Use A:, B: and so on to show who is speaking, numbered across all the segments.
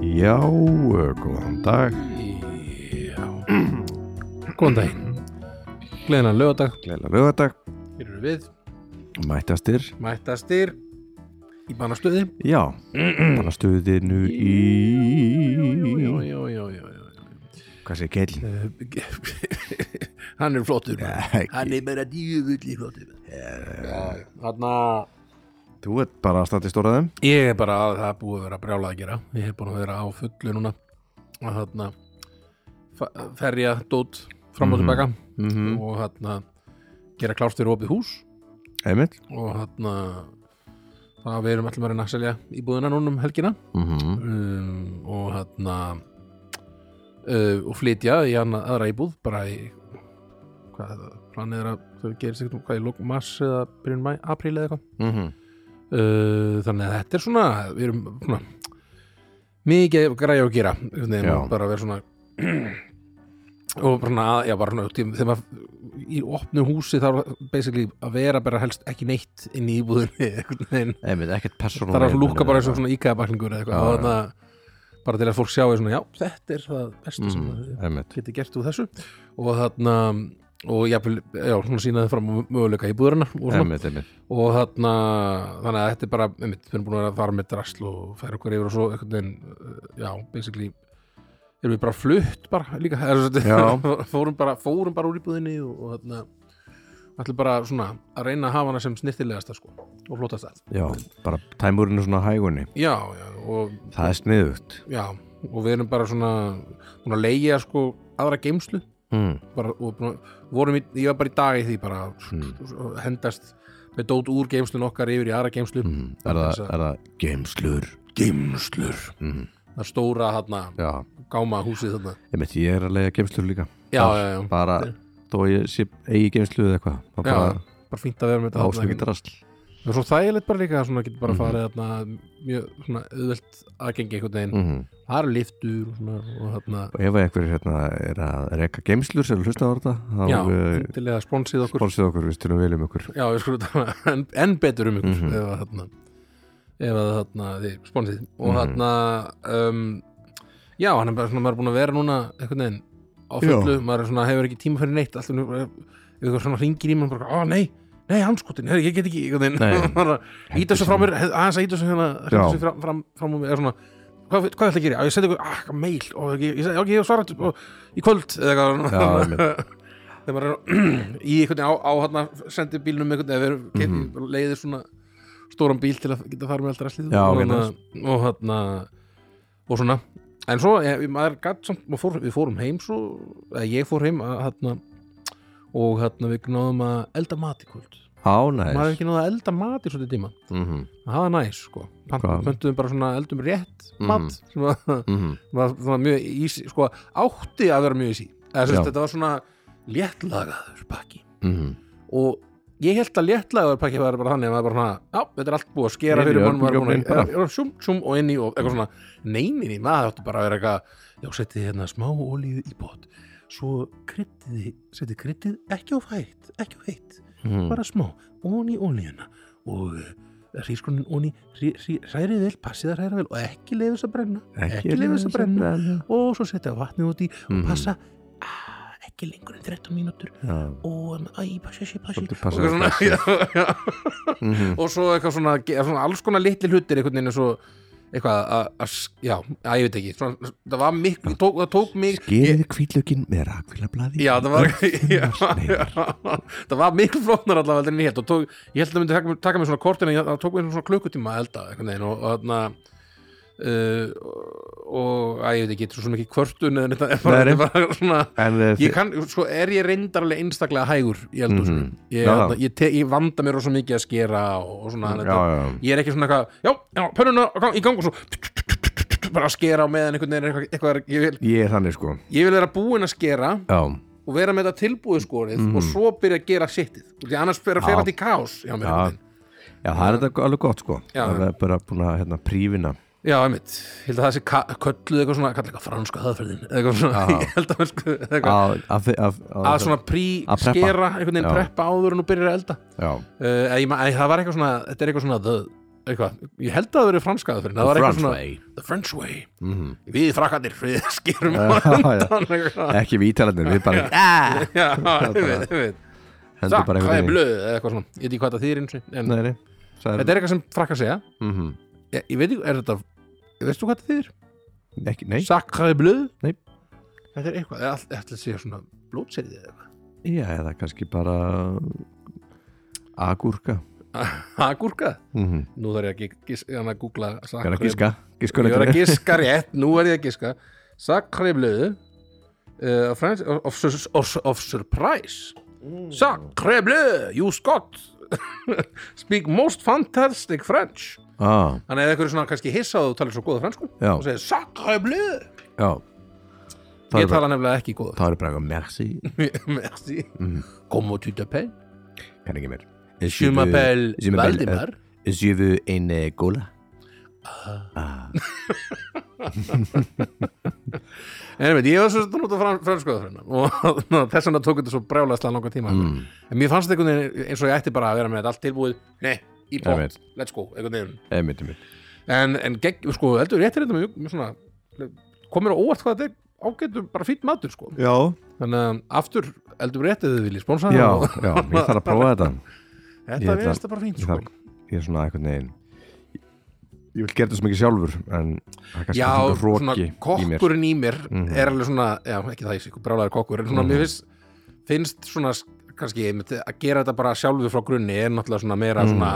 A: Já, uh, góðan dag,
B: Já Góðan daginn Gleðinan lögadag
A: gleðilega lögadag,
B: Hér eru við
A: mættastir.
B: Mættastir Í bannastöði
A: Já, bara stuðinu
B: Já,
A: í...
B: já, já, já, já.
A: Hvað segir gellin?
B: Eh, Hann er flottur maður. Hann er bara djúvulli flottur Þarna
A: Þú ert bara að standa í stóraðum?
B: Ég er bara að það er búið að vera brjálað að gera Ég hef búin að vera á fullu núna að þarna fa- ferja dót fram og
A: Mhm.
B: tilbaka
A: Mm -hmm.
B: og þarna gera klárt fyrir opið hús
A: Emil?
B: og þarna það við erum allir maður að selja íbúðina núna um helgina
A: Mm -hmm.
B: um, og þarna uh, og flytja í hana, aðra íbúð bara í hvað er það, planið er að þau gerir sig hvað í lók mars eða byrjun mæ, apríl eða eitthvað
A: Mm -hmm.
B: uh, þannig að þetta er svona við erum svona mikið græja að gera einhvern veginn,
A: Já.
B: bara að vera svona og bara, svona að- já, bara svona, tím- þegar maður í opnu húsi þá er basically að vera bara helst ekki neitt inn í íbúðinni einhvern veginn
A: Emil, ekkert persónum.
B: það er að lúka bara eins og svona íkæðabakningur eða eitthvað
A: Já,
B: og þannig að bara til að fólk sjáu svona, já, þetta er það besta sem
A: Mm,
B: það
A: Emil,
B: geti gert úr þessu og þannig að og jafnvel, já, svona sínaði fram á möguleika í búðurina og, svona.
A: Emil, Emil.
B: og þarna, þannig að þetta er bara einmitt, við erum búin að vera að fara með drasl og færa okkur yfir og svo einhvern veginn, uh, já, basically erum við bara flutt bara líka er,
A: Já.
B: fórum, bara, fórum bara úr íbúðinni og, og þarna ætlum bara svona að reyna að hafa hana sem snirtilegasta sko og flótast það
A: Já, bara tæmurinn er svona á hægunni.
B: já, já, og
A: Það er sniðugt.
B: Já, og við erum bara svona búin að leigja sko aðra geimslu
A: Mm.
B: bara, og búin að, vorum í, ég var bara í dag í því bara
A: Hmm.
B: mm. hendast með dót úr geimslun okkar yfir í aðra geimslu
A: Mm. Er, það, er það geimslur?
B: geimslur
A: Mm.
B: það er stóra þarna,
A: Já,
B: gáma húsið þarna
A: Emil, ég er að leiða geimslur líka.
B: já,
A: Þar
B: já, já,
A: Bara, þó ég sé eigi geimslu eða eitthvað. Það
B: já,
A: bara
B: bara fínt Mhm. að vera með þetta
A: ástöki drasl.
B: það er svo þægilegt bara líka svona getur bara farið þarna mjög svona auðvelt aðgengi einhvern veginn
A: Mm -hmm.
B: það eru liftur og, svona, og þarna
A: Og ef einhver hérna, er að reka geimslur sem hlusta á þetta, þá
B: já,
A: eh,
B: til eða sponsið okkur
A: sponsið okkur, við um stundum viljum okkur.
B: Já, við skulum tala enn en betur um ykkur
A: Mhm.
B: ef að þarna ef að þarna þið sponsið og
A: Mhm.
B: þarna um, já, hann er bara svona, maður er búin að vera núna einhvern veginn á fullu,
A: Já.
B: maður er svona hefur ekki tíma fyrir neitt, alltaf nú bara- ef eitthvað svona ringir í mann, bara, á nei nei, anskotin, herri, ég get ekki, einhvern
A: Nei.
B: veginn bara að íta svo frá mér, he- aðeins að íta svo hérna
A: Já.
B: hérna svo fram, fram, fram úr mér, eða svona hvað, hvað ætla að gera, Já, ég sendi ykkur, ah, mail og ég, ég, ég, ég svara til- og- í kvöld eða eitthvað
A: Já, einmitt.
B: þegar maður er í einhvern veginn á, á hann sendi bílnum einhvern veginn eða
A: Mhm.
B: við erum mm. leiðir svona stóran bíl til að geta farið með allra slið
A: Já,
B: og,
A: ok,
B: hérna- og hann og svona en svo ég, maður gatt samt maður fór, við fórum heim svo eða ég fór heim að, hann, og hann við náðum að elda mat í kvöld
A: Á,
B: maður hefur
A: næst.
B: ekki náð að elda mat í svona tíma
A: Mm -hmm.
B: það var næs sko Pant-
A: Hvað?
B: pöntuðum bara svona eldum rétt mat
A: Mhm.
B: sem var
A: Mm -hmm.
B: var, var mjög ísi, sko, átti að vera mjög ísi eða sérst,
A: Já.
B: þetta var svona léttlagaður pakki
A: Mhm.
B: og ég held að léttlagaður pakki var bara þannig að maður bara svona, já, þetta er allt búið að skera
A: Inn í
B: fyrir mann, maður
A: örbylgjuofninn
B: er búin að sjum, sjum og inn í og eitthvað svona, neyninni, maður átti bara að vera eitthvað, já, setið hérna smá olíu í bót, svo kryddið, setið kryddið ekki á fætt ekki á heitt,
A: Mhm. Mm.
B: bara smá ón í olíuna og eh, rískonin ón í, rí- rí- hrærið vel passið að hræra vel og ekki leiðis að brenna ekki leifa þess að brenna og svo setja vatnið út í
A: Mhm.
B: og passa ah, ekki lengur en 13 mínútur
A: Já,
B: og æ, passi, passi, passi
A: Svolítið
B: og,
A: passa,
B: svona,
A: passa.
B: já, já.
A: mm -hmm.
B: og svo eitthvað svona, ge- svona alls konar litli hlutir einhvern veginn svo eitthvað að, að s- já, að ég veit ekki svona, það var miklu, tók, það tók miklu
A: Gerið kvítlökin með rakvílablaði
B: Já, það var, já, já,
A: Sneiðar.
B: það var miklu flóknar allavega heldur en ég held og tók, ég held að það myndi taka, taka mig svona kortin en ég- það tók mig svona klukkutíma að elda einhvern veginn og þarna uh, og að ég veit ekki, þetta er svo mikið kvörtun eða þetta er bara,
A: Nei, nei.
B: þetta er bara svona
A: En eh,
B: ég
A: þið-
B: kann, sko er ég reyndarlega einstaklega hægur í eldur
A: Mhm.
B: ég,
A: Já, já.
B: þarna, ég, te, ég vanda mér rosa mikið að skera og, og svona,
A: Já,
B: þetta,
A: já
B: ég er ekki svona eitthvað já, já, pönnuna á gang- í gang og svo bara að skera á meðan einhvern veginn er eitthvað, eitthvað er, ég, vil,
A: Ég er þannig sko
B: ég vil vera búinn að skera
A: Já,
B: og vera með þetta tilbúið skorið og svo byrja að gera sittið og því annars byrja að
A: Mm. Já.
B: færa þetta í kaos já, mér,
A: já,
B: einhvern veginn.
A: já það er þetta alveg gott sko
B: Já.
A: Það er bara búin að hérna, prífina
B: já einmitt, ég held að það sé ka- kölluð eitthvað svona, kallar eitthvað franska höðferðin eitthvað svona,
A: Já.
B: ég held að mér sko eitthvað,
A: Að að- að-
B: að
A: að-
B: svona
A: Að preppa.
B: prí-skera einhvern veginn
A: Já.
B: preppa áður en þú byrjar að elda Eh,
A: Já,
B: uh, ég, ma- æ, það var eitthvað svona, þetta er eitthvað svona the, eitthvað, ég held að það verið franskaða fyrir en það var eitthvað
A: French
B: svona
A: way
B: The French way,
A: Mhm.
B: við frakkandir við skerum á
A: Já, já. Eh.
B: undan eitthvað.
A: Ekki við ítalarnir, við bara
B: Já, ég veit, ég veit
A: hendur
B: Sakk,
A: bara
B: hvað er
A: einhvern veginn í-
B: blöð, eða eitthvað svona Ég veit ekki hvað það þýðir eins og en
A: Nei, nei, sagði-
B: Þetta er eitthvað sem frakkar segja Eh,
A: Mhm.
B: Ég, ég veit ekki, er þetta, veistu hvað það þýðir?
A: Ekki- Nei,
B: Sakkaði blöð?
A: Nei.
B: Þetta er eitthvað, eða allt- þetta sé svona blótserið eða eitthvað
A: já, eða kannski bara agúrka
B: Agúrka?
A: Mhm.
B: Nú þarf ég að, gis- gis, hann að googla
A: Ég er að
B: sakkaði-
A: gíska, gíska
B: Ég var að giska rétt, nú er ég að giska Sakkaði blöð uh, of, French- of, of, of, of surprise
A: Mm.
B: Sakkaði blöð, you Scott Speak most fantastic French
A: ah,
B: Þannig að eitthvað er svona kannski hissa og þú talar svo góða fransku
A: Já.
B: og segir sacre bleu
A: Já Það
B: Ég
A: er bara-
B: tala nefnilega ekki góða
A: það er bara eitthvað merci
B: Merci
A: Mhm.
B: Comment tu t'appelles?
A: Kann ekki mér
B: Je m'appelle
A: je m'appelle,
B: Valdimar
A: Je veux une eh, gola
B: En veit, ég var svo að nota fran- fransku að þrenna og ná, þess vegna tók þetta svo brjálæðslega langan tíma
A: Mm.
B: En mér fannst þetta einhvern veginn eins og ég ætti bara að vera með þetta allt tilbúið Nei, í
A: Ég
B: pott,
A: veit.
B: let's go einhvern veginn
A: Einmitt, einmitt
B: En, en gegn, sko, eldur réttir þetta mjög, mjög svona komir á óvart hvað þetta er ágættum bara fýtt matur sko
A: Já,
B: Þannig að aftur eldur réttið þið viljið sponsa
A: já,
B: það og-
A: ég þarf að prófa þetta ég
B: Þetta
A: ætla-
B: verðist það bara fínt
A: ég,
B: sko
A: þarf, ég er svona eitthvað negin Ég vil gera þetta sem ekki sjálfur en það er kannski
B: Já,
A: svona
B: svona
A: roki í mér
B: kokkurinn í mér
A: Mhm.
B: er alveg svona, já, ekki það ég sé, brálaður kokkur en svona, mér finnst, finnst svona s- kannski, einmitt, að gera þetta bara sjálfu frá grunni er náttúrulega svona meira svona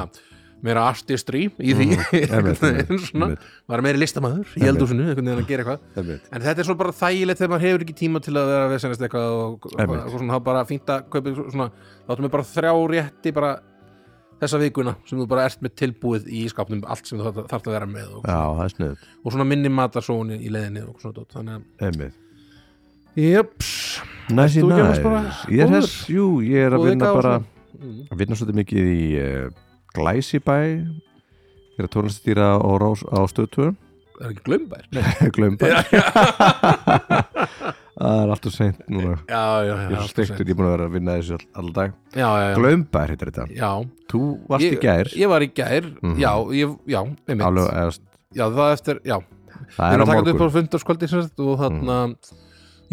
B: meira artistry í því
A: Mhm. einmitt,
B: mm.
A: einmitt,
B: svona,
A: einmitt.
B: maður er meiri listamaður í
A: Einmitt.
B: eldúsinu, einhvern veginn að gera eitthvað
A: Einmitt.
B: en þetta er svo bara þægilegt þegar maður hefur ekki tíma til að vera að vesenast eitthvað og, og,
A: Einmitt.
B: og svona, þá bara fínt að kaupa ykkur svona, þá áttum við bara þrjá rétti bara þessa vikuna sem þú bara ert með tilbúið í skapnum allt sem þú þarf þarft að vera með og
A: Já, það er snuð
B: og svona minni matarsóni í leiðinni og svona dót þannig
A: Einmitt
B: að jöps
A: Næs í
B: Ert þú ekki
A: næs
B: annars bara
A: Ég er
B: góður?
A: þess, jú, ég er að
B: Góð
A: vinna
B: vika og
A: bara
B: svona.
A: að vinna svolítið mikið í uh, Glæsibæ Ég er að tónlistýra á, Rás- á stöðtúrum
B: er ekki glömbær já,
A: Glömbæ Það er alltaf seint núna
B: já, já,
A: Ég er svo
B: allt
A: steiktur,
B: seint.
A: ég er búin að vera að vinna þessu all, all dag
B: já, já, já.
A: Glömbær heitir þetta
B: já.
A: Þú varst í
B: Ég-
A: gær
B: ég var í gær,
A: Mhm.
B: já, ég, já, einmitt
A: Alveg, eðast,
B: já, það eftir, já,
A: það er á
B: að taka þetta upp
A: morgun Mhm.
B: á fundarskvöldi sem sagt, og þarna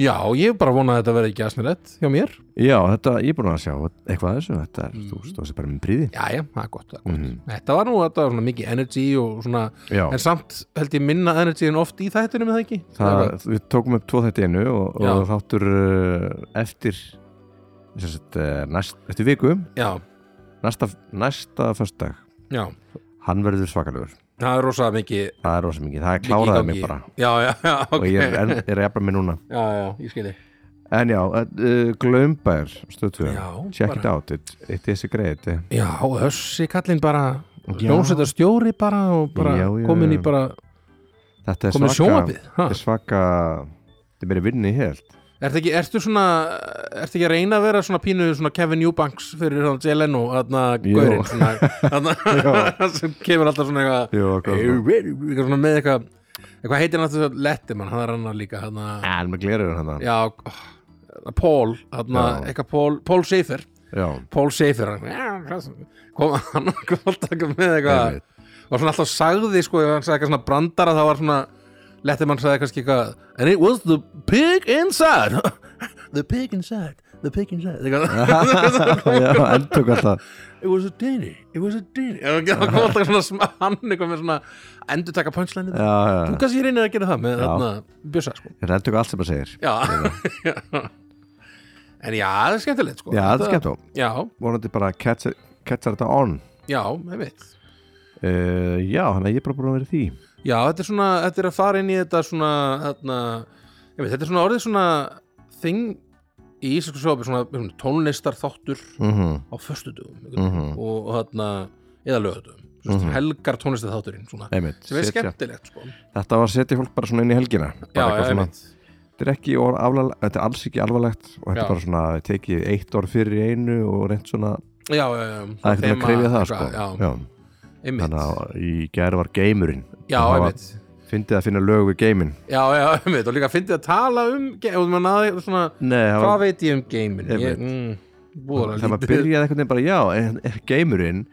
B: já, ég bara vona að þetta verði ekki aðsnirett hjá mér
A: Já, þetta, ég er búin að sjá eitthvað af þessu Þetta
B: Mhm.
A: er, þú veist, það er bara minn príði
B: já, já, það er gott, það er gott.
A: Mhm.
B: þetta var nú, þetta var svona mikið energy og svona,
A: Já,
B: en samt held ég minna energy en oft í þættunum er það ekki
A: það, við tókum upp tvo þetta einu og, og þáttur uh, eftir sem sagt, uh, næst, eftir viku
B: já,
A: næsta, næsta föstudag
B: já,
A: hann verður svakalugur,
B: það er rosa mikið
A: það er rosa mikið það er
B: mikið í
A: kláraði
B: gangi.
A: mig bara
B: já, já, já, ok
A: og ég er, enn- er að jafna mig núna
B: já, já, ég skilji
A: en já, uh, glömbær stöðtuðum,
B: Já,
A: check
B: bara-
A: it out it, it is great eh. já,
B: Já, össi kallinn bara
A: Já.
B: Ljónsetta stjóri bara og bara
A: Já, já,
B: komin í
A: já.
B: bara
A: þetta er
B: komin í
A: svaka
B: sjónvarpið ha?
A: þetta er svaka þetta er verið vinni helt
B: Ertu ekki, ertu svona ertu ekki að reyna að vera svona pínu svona Kevin Eubanks fyrir svona JLN og þarna
A: Jú.
B: gaurinn svona þarna sem kemur alltaf svona eitthvað
A: Jú, hvað er það?
B: eitthvað svona með eitthvað eitthvað heitir náttúrulega Lettimann, hann er annar líka þarna,
A: en með glerur hann það
B: já, ó, Paul þarna,
A: Já.
B: eitthvað Paul, Paul Seifer
A: já,
B: Paul Seifer hann, já, hvað sem- kom hann alltaf með eitthvað
A: einmitt.
B: og svona alltaf sagði sko ef hann sagði eitthvað svona brandara þá var svona lettum hann sagði kannski eitthvað and it was the pig inside the pig inside the pig inside eitthvað.
A: já, endtök alltaf
B: it was a dinny it was a dinny og það kom alltaf svona sm- hann eitthvað með svona endur taka punchline
A: já, já,
B: þú kannski reynir að gera það með
A: Já.
B: þarna bjösa sko
A: þetta endtök allt sem það segir
B: já en já það er skemmtilegt sko
A: já, þetta er skemmt á
B: já
A: vonandi bara catcha catcha þetta on
B: já ég veit
A: uh, já, þannig að ég er bara búin að vera í því
B: Já, þetta er svona, þetta er að fara inn í þetta svona, þarna, ég veit, þetta er svona orðið svona þing í íslensku sjópi, svona, svona tónlistar þáttur
A: mm -hmm.
B: á föstudugum
A: Mhm.
B: og, og þarna, eða lögudugum, mm
A: Mhm.
B: helgar tónlistar þátturinn, svona,
A: einmitt,
B: sem er
A: setja,
B: skemmtilegt, sko.
A: þetta var að setja fólk bara svona inn í helgina
B: Já,
A: bara eitthvað
B: já,
A: svona,
B: einmitt.
A: þetta er ekki orð, aflega, þetta er alls ekki alvarlegt og þetta
B: Já.
A: er bara svona, tekið eitt orð fyrir í einu og reynd svona,
B: Já, já, já.
A: það er ekki að
B: þema,
A: krefja það sko.
B: eitthvað, Já, einmitt.
A: þannig að í gæri var geimurinn
B: Já,
A: Það var-
B: einmitt.
A: fyndið að finna lög við geiminn
B: Já, já, einmitt. Og líka fyndið að tala um, ge- og maður náði svona,
A: Nei, það
B: hvað
A: var,
B: veit ég um geiminn? Ég,
A: Einmitt.
B: mm, búið að
A: þegar maður byrjaði einhvern veginn bara já, en- en geimurinn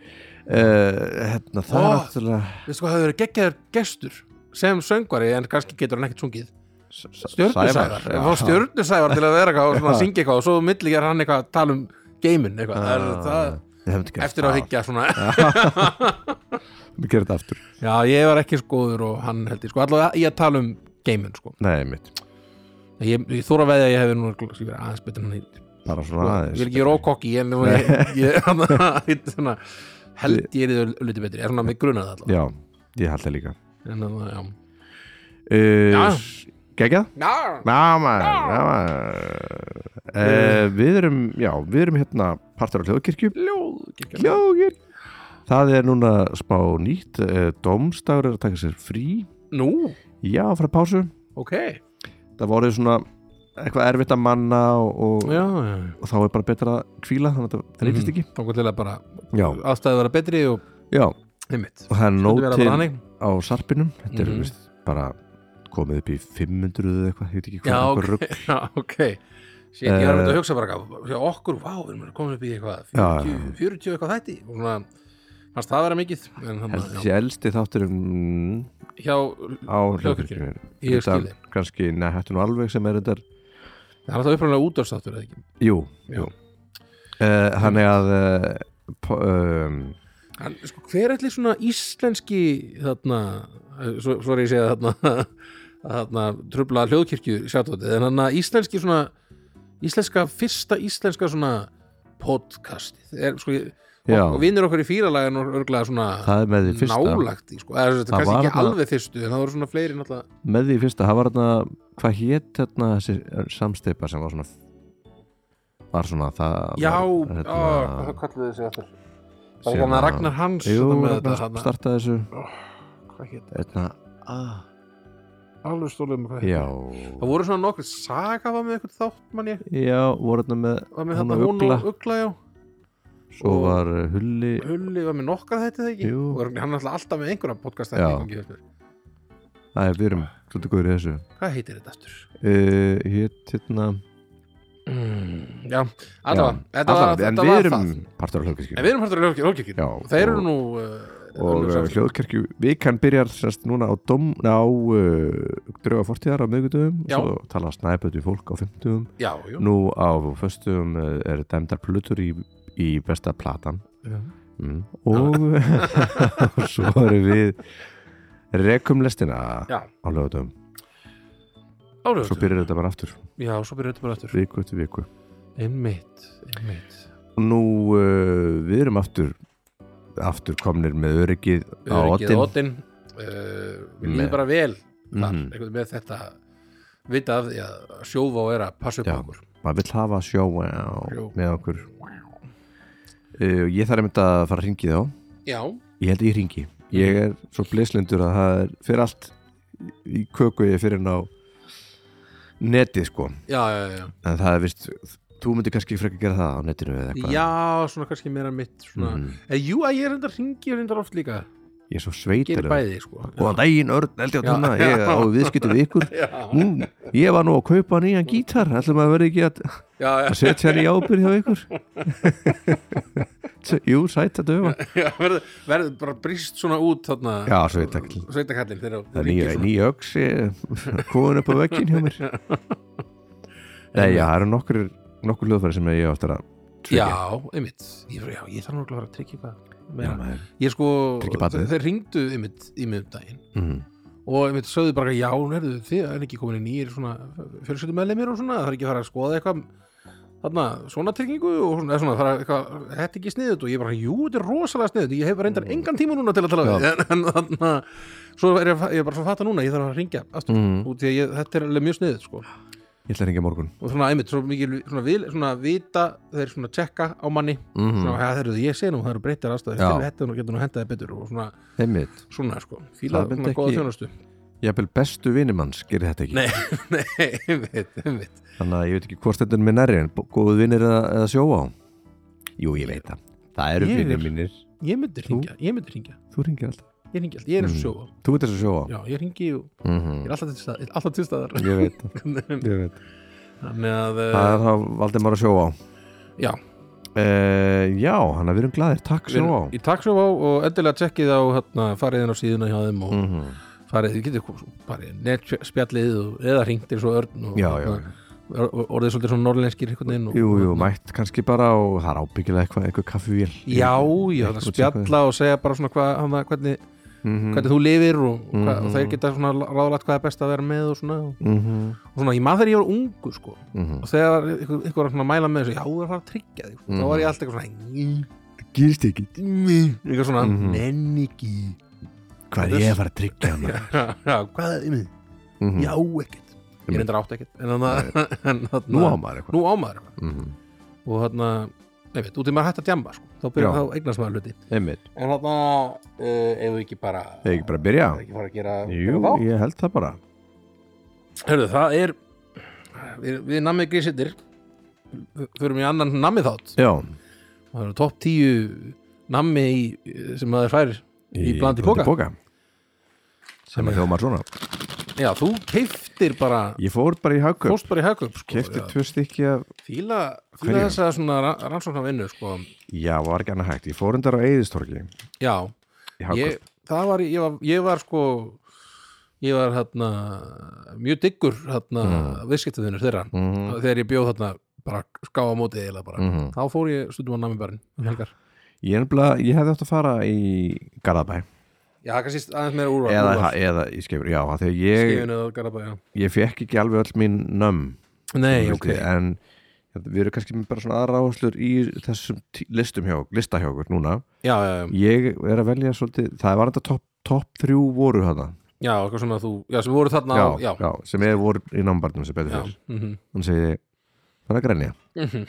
A: hérna, það
B: Ó.
A: er náttúrulega
B: Veistu hvað, það hefur verið geggjaður gestur sem söngvari en kannski getur hann ekkert sungið
A: S-
B: Stjörnusævar,
A: Sævar,
B: við fá stjörnusævar til að vera eitthvað og svona syngja eitthvað og svo milli er hann eitthvað að tala um geimin eitthvað, það er það,
A: Ah. Við höfum gert
B: eftir á
A: það.
B: higgja svona
A: Við gerum þetta aftur
B: Já, ég var ekki skoður og hann held ég sko allavega í að tala um geimin sko
A: Nei, mitt,
B: Ég, ég þóra að veðja að ég hefði nú örugglega- ég verið aðeins betur en hann hitt
A: bara
B: Sko,
A: svona
B: Ég er
A: aðeins
B: ekki rókokki en nú ég, ég, ég, svona, held ég er þið auðvitað betri, er svona með grunað allavega
A: Já, ég held það líka
B: En, þannig að, Já.
A: uh, Gekja?
B: Já, Eh.
A: Já, maður, já, maður. Uh, Við erum, já, við erum hérna partur á hljóðkirkju
B: ljóðkirkja.
A: Hljóðkirkju Það er núna spá nýtt uh, Dómstagur er að taka sér frí
B: Nú,
A: Já, frá pásu
B: ok
A: Það voru svona eitthvað erfitt að manna og,
B: Já, Mhm. já,
A: og,
B: já
A: og þá er bara betra að kvíla þannig að það nýttist ekki
B: Þá til að bara
A: Já,
B: aðstæði vera betri og
A: já, og
B: heimitt
A: það er
B: Nóti vera
A: nótin
B: bara hannig
A: á sarpinum þetta er
B: Mhm.
A: mm. bara komið upp í 500 eða eitthvað, ég veit ekki hvað
B: Já,
A: eitthvað
B: ok.
A: rugl.
B: Já, ok Sér, ég var
A: Eh.
B: með að hugsa bara eitthvað, hjá okkur, vá, við erum komin upp í eitthvað
A: Já,
B: 40, 40 eitthvað þætti og svona, fannst það vera mikið en hann,
A: held þessi elsti þátturinn
B: hjá,
A: á
B: Hljóðkirkjunni.
A: hljóðkirkjunni
B: ég
A: Utan
B: skilði
A: kannski, neða, hættu nú alveg sem er þetta
B: það er alltaf upprænlega útdörstáttur eða ekki
A: jú,
B: Já.
A: jú Eh, hann er að eh, po- um,
B: hann, sko, hver ætli svona íslenski þarna, eh, svo, svo er ég að segja þarna, að þarna trubla hljóðkirkju sjáttóti, en hann að íslenski svona íslenska, fyrsta íslenska svona podcastið er, sko, ég,
A: Já.
B: og, og vinnur okkur í fýralagin og örglega svona
A: það er með því fyrsta
B: nálagt í, sko, eða þetta er
A: Það
B: kannski
A: var
B: ekki
A: þarna-
B: alveg fyrstu en það voru svona fleiri náttúrulega
A: með því fyrsta, það var þarna hvað hétt hérna þessi samsteipa sem var svona var svona það
B: já,
A: var,
B: á,
A: hérna,
B: hvað kallir þessi aftur það er
A: sem
B: hérna
A: að-
B: Ragnar Hans
A: jú,
B: þetta með
A: Ragnar
B: þetta, þarna,
A: startaði þessu
B: hvað hét,
A: hérna, ah,
B: alveg stólum hvað hét.
A: já
B: það voru svona nokkur saga var með eitthvað þátt mann ég
A: já, voru þarna með
B: var með
A: Hún
B: þarna
A: og
B: hún og Ugla já
A: svo
B: og-
A: var eh, Hulli
B: Hulli var með nokkar þetta þegar ekki
A: Jú.
B: og er- hann er alltaf alltaf með einhverja podcast
A: Já.
B: hvað
A: það er við erum svolítið góður í þessu
B: heitir þetta aftur
A: uh, hétt hérna
B: mm, já,
A: Já,
B: allavega þetta var-
A: allavega, en
B: þetta
A: við
B: var
A: erum
B: það
A: partur á
B: en
A: hljóðkirkju
B: við erum hættur hljókirkir
A: Já,
B: þeir eru
A: og-
B: nú eh,
A: og uh, hljóðkirkju vikan byrjar sérst núna á, dom, á uh, drauga fortíðar á miðgudum
B: Já.
A: svo tala snæpöld við fólk á fymtugum
B: hljókirkir
A: nú á föstum uh, er dæmdar plutur í, í besta platan mm. og, og svo erum við rekum lestina
B: Já.
A: á lögutum svo
B: Álaugardögum.
A: byrjar þetta bara aftur
B: Já, svo byrjar þetta bara aftur
A: viku eftir viku
B: Einmitt, einmitt
A: og nú uh, við erum aftur aftur komnir með öryggið á
B: Öryggið
A: oddin
B: Odin uh, Við
A: Með-
B: líðum bara vel þar,
A: Mhm.
B: einhvern veginn með þetta vita af því að sjófa og er að passa upp
A: Já.
B: á okkur
A: maður vill hafa sjó wow,
B: Sjó.
A: með okkur uh, ég þarf einmitt að fara að ringi þá
B: Já,
A: ég held að ég ringi
B: Mhm.
A: ég er svo bleslendur að það er fyrir allt í köku ég fyrir ná netið sko
B: já, já, já, já.
A: en það er vist, þú myndir kannski frekar gera það á netinu eða eitthvað
B: já svona kannski meira mitt svona. Mm.
A: Mhm.
B: Jú, að ég er enda hringi og reyndar oft líka
A: ég er svo
B: Gerir
A: sveitar
B: bæði, sko
A: og að daginn örn eldi á
B: Já.
A: tunna ég á viðskiptu við ykkur
B: Já,
A: Nú, ég var nú að kaupa nýjan gítar ætlum að vera ekki að
B: já, já,
A: að setja hann í ábyrð hjá ykkur S- Jú, sætt að döfa
B: já verður verð bara brist svona út þarna
A: Já, sveitakall
B: Sveitakallin þegar
A: Það er
B: ringir
A: nýja,
B: svona.
A: nýja öksi kóðun upp á vekkin hjá mér Nei, já, það eru nokkur nokkur hljóðfæri sem ég á eftir að tryggja.
B: Já, einmitt Ég, já, ég þarf náttúrulega að fara að tryggja eitthvað
A: Já,
B: meira
A: maður.
B: ég sko,
A: Tryggja barnið.
B: þeir ringdu einmitt í miðum daginn
A: Mhm.
B: og einmitt sögðu bara já, nærðu, þið er ekki komin í nýjir svona fjölskyldum meðlemir og svona það er ekki að fara að skoða eitthvað þarna, svona tryggingu og svona, eða svona fara eitthvað, þetta er ekki sniðut og ég bara, jú, þetta er rosalega sniðut ég hef
A: Mm.
B: reyndar engan tíma núna til að tala við en, en þarna, svo er ég, ég er bara svona að fatta núna, ég þarf að ringja aftur
A: Mhm.
B: út því að ég, þetta er alveg mjög sniðut sko.
A: Ég ætla að hringja morgun
B: og svona einmitt, svo mikið svona, vil, svona vita, þeir svona tjekka á manni svona,
A: Mhm.
B: ja, þeir, ég sé nú, það eru breyttar aðstæður
A: Já.
B: þetta nú getur nú hendaði betur og svona
A: Einmitt
B: svona sko, fíla
A: Það myndi
B: svona góða
A: ekki-
B: þjónustu
A: Ég hafði bestu vinnumanns gerir þetta ekki
B: Nei. nei, einmitt, einmitt
A: Þannig að ég veit ekki hvort þetta er með nærri en góðu vinnir eða, eða sjóa á Jú, ég veit það Það eru
B: Ég er-
A: vinnir mínir
B: ég myndi hringja, ég myndi hringja,
A: Þú ringir alltaf
B: ég hringi alltaf, ég
A: Mm.
B: er eins og sjóa
A: Þú veit þessu sjóa á
B: já, ég hringi og
A: Mhm.
B: ég er alltaf til staðar, ég er alltaf til staðar
A: Ég veit Mm. það, ég veit það
B: þannig að, eh,
A: Það er þá Valdimar að sjóa á
B: já
A: Uh, já, hann að við erum glaðir, takk
B: Við
A: svo á
B: erum í taksjófá og endilega tjekkið á hérna, farið inn á síðuna hjá þeim og
A: Mhm.
B: farið, þið getur farið netspjallið og, eða hringt eins og örn og
A: Já, já, já.
B: já. orðið svolítið svona norlenskir einhvern veginn og,
A: Jú, jú, mætt kannski bara og það er ábyggilega eitthvað, eitthvað kaffivél
B: já, já, það spjalla og segja bara svona hva, hana, hvernig,
A: Mhm.
B: hvernig þú lifir og, og, hva, og þeir geta svona ráðlagt hvað er best að vera með og svona, og, og svona ég maður þegar ég var ungu sko
A: Mhm.
B: og þegar ykkur, ykkur var svona að mæla með þessu já, þú er að fara að tryggja þig sko. þá var ég alltaf eitthvað svona
A: Gýrst Mhm. ekki Mhm.
B: eitthvað svona, nenni ekki
A: Hvað ég er að fara að tryggja hérna? hann
B: Já, já, hvað er þið?
A: Mhm.
B: Já, ekkert Ég reyndar átt ekkert En þannig að
A: Nú á maður eitthvað
B: Nú á maður eitthvað.
A: Mhm.
B: Og þannig að Nei veit, út í maður hægt að djamba sko. Þá byrjar
A: Já.
B: þá eignast maður hluti
A: Einmitt,
B: En þannig að uh, Ef við ekki bara
A: þegar ekki bara að byrja
B: Ekki fara að gera gera
A: Jú,
B: þá?
A: ég held það bara
B: Hörðu, það er Við, við namið grísittir Förum í annan namið þátt
A: Já,
B: Það eru topp tíu nammi í, sem maður fær í blandi
A: Blandi
B: póka
A: Poka, sem að þjóma svona
B: Já, þú keiftir bara
A: Ég fór bara í hagkaup,
B: Fórst bara í hagkaup sko,
A: kefti
B: já.
A: tvö stykki af
B: Fíla, fíla
A: Hverju?
B: þessa svona ra- rannsóknarvinnu sko.
A: Já, var ekki annað hægt, ég fór undar á Eðistorgi
B: Já,
A: í hagkaup
B: ég, það var, ég var, ég var sko ég var hérna mjög diggur hérna mm. viðskiptavinnur þeirra
A: Mhm.
B: þegar ég bjóð hérna bara skáa mótið eiginlega bara
A: Mhm.
B: þá fór ég stundum á namibærin um helgar
A: Ég, nefnilega- ég hefði átt að fara í Garðabæ
B: Já, það kannski aðeins meira úrval
A: eða,
B: úrval.
A: eða í skefur, já, af því að ég,
B: Skifinu eða Garabæ, já
A: ég fekk ekki alveg öll mín nömm
B: Nei,
A: þú
B: ok,
A: veist, en hérna, við erum kannski með bara svona aðra áherslur í þessum tí- listum hjá, lista hjá okkur núna
B: já, já, já,
A: ég er að velja svolítið, það var þetta topp top þrjú voru þarna
B: já, eitthvað svona þú já, sem voru þarna á, já,
A: sem er voru í námbarnum sem betur
B: já,
A: fyrst
B: mhm.
A: hann segi, það er að grænja
B: Mhm.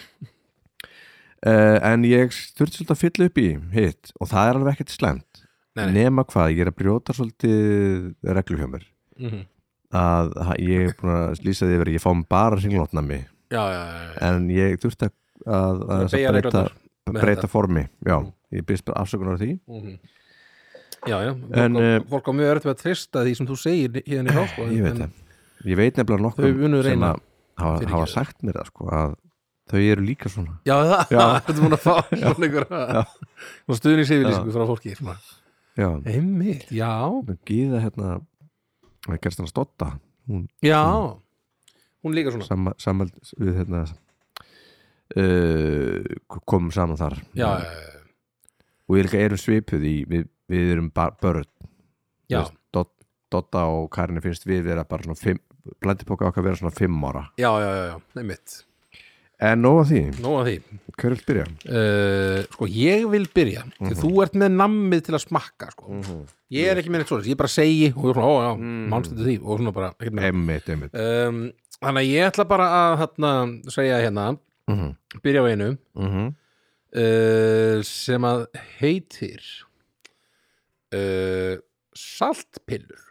A: uh, en ég þurfti svolítið að fylla upp í hitt og það er alveg ekkert slemt
B: Nei, nei,
A: nema hvað, ég er að brjóta svolítið reglu hjá mér
B: mhm.
A: að ha- ég er búin að lýsa því yfir að ég fáum bara hringlótnami
B: já, já, já, já.
A: en ég þurfti að, að, að, að
B: beygja
A: breyta,
B: reglurnar með Mm.
A: breyta
B: þetta.
A: formi já, ég byrst bara afsökunar á því
B: Mhm. Já, já,
A: En,
B: fólk,
A: eh,
B: á, fólk á mjög erfitt með að trista því sem þú segir hérna í þá sko,
A: ég veit
B: en-
A: það ég veit nefnilega
B: Þau
A: nokkuð
B: munu
A: sem
B: reyna.
A: að hafa,
B: Fyrirgefðu.
A: hafa sagt mér það sko, að þau eru líka svona
B: Já, það,
A: Já.
B: þetta er múin að fá svona einhverja og stuðningsyfirlýsingu frá fólki svona.
A: já,
B: Einmitt, já
A: en gíða hérna það gerst hann að stotta hún
B: Já,
A: Mm.
B: hún líka svona
A: sama, samal við hérna uh, komum saman þar
B: Já, já,
A: og við líka erum svipuð í við, við erum ba- börn Þú
B: Já.
A: veist, Dot, Dotta og Karinni finnst við vera bara svona fimm, blandipoka okkar vera svona fimm ára
B: já, já, já, já einmitt
A: en nóg að því,
B: Nó að því
A: hver vil byrja?
B: uh, Sko, ég vil byrja mm
A: Mhm.
B: Þú ert með nammið til að smakka sko. Ég er ekki með neitt svoleiðis, ég bara segi og þú er svona, ó já, mm. mánstættu því og svona bara, ekkert með
A: Einmitt, einmitt
B: um, Þannig að ég ætla bara að hérna, segja hérna,
A: Mhm,
B: byrja á einu
A: mhm.
B: uh, sem að heitir uh, saltpillur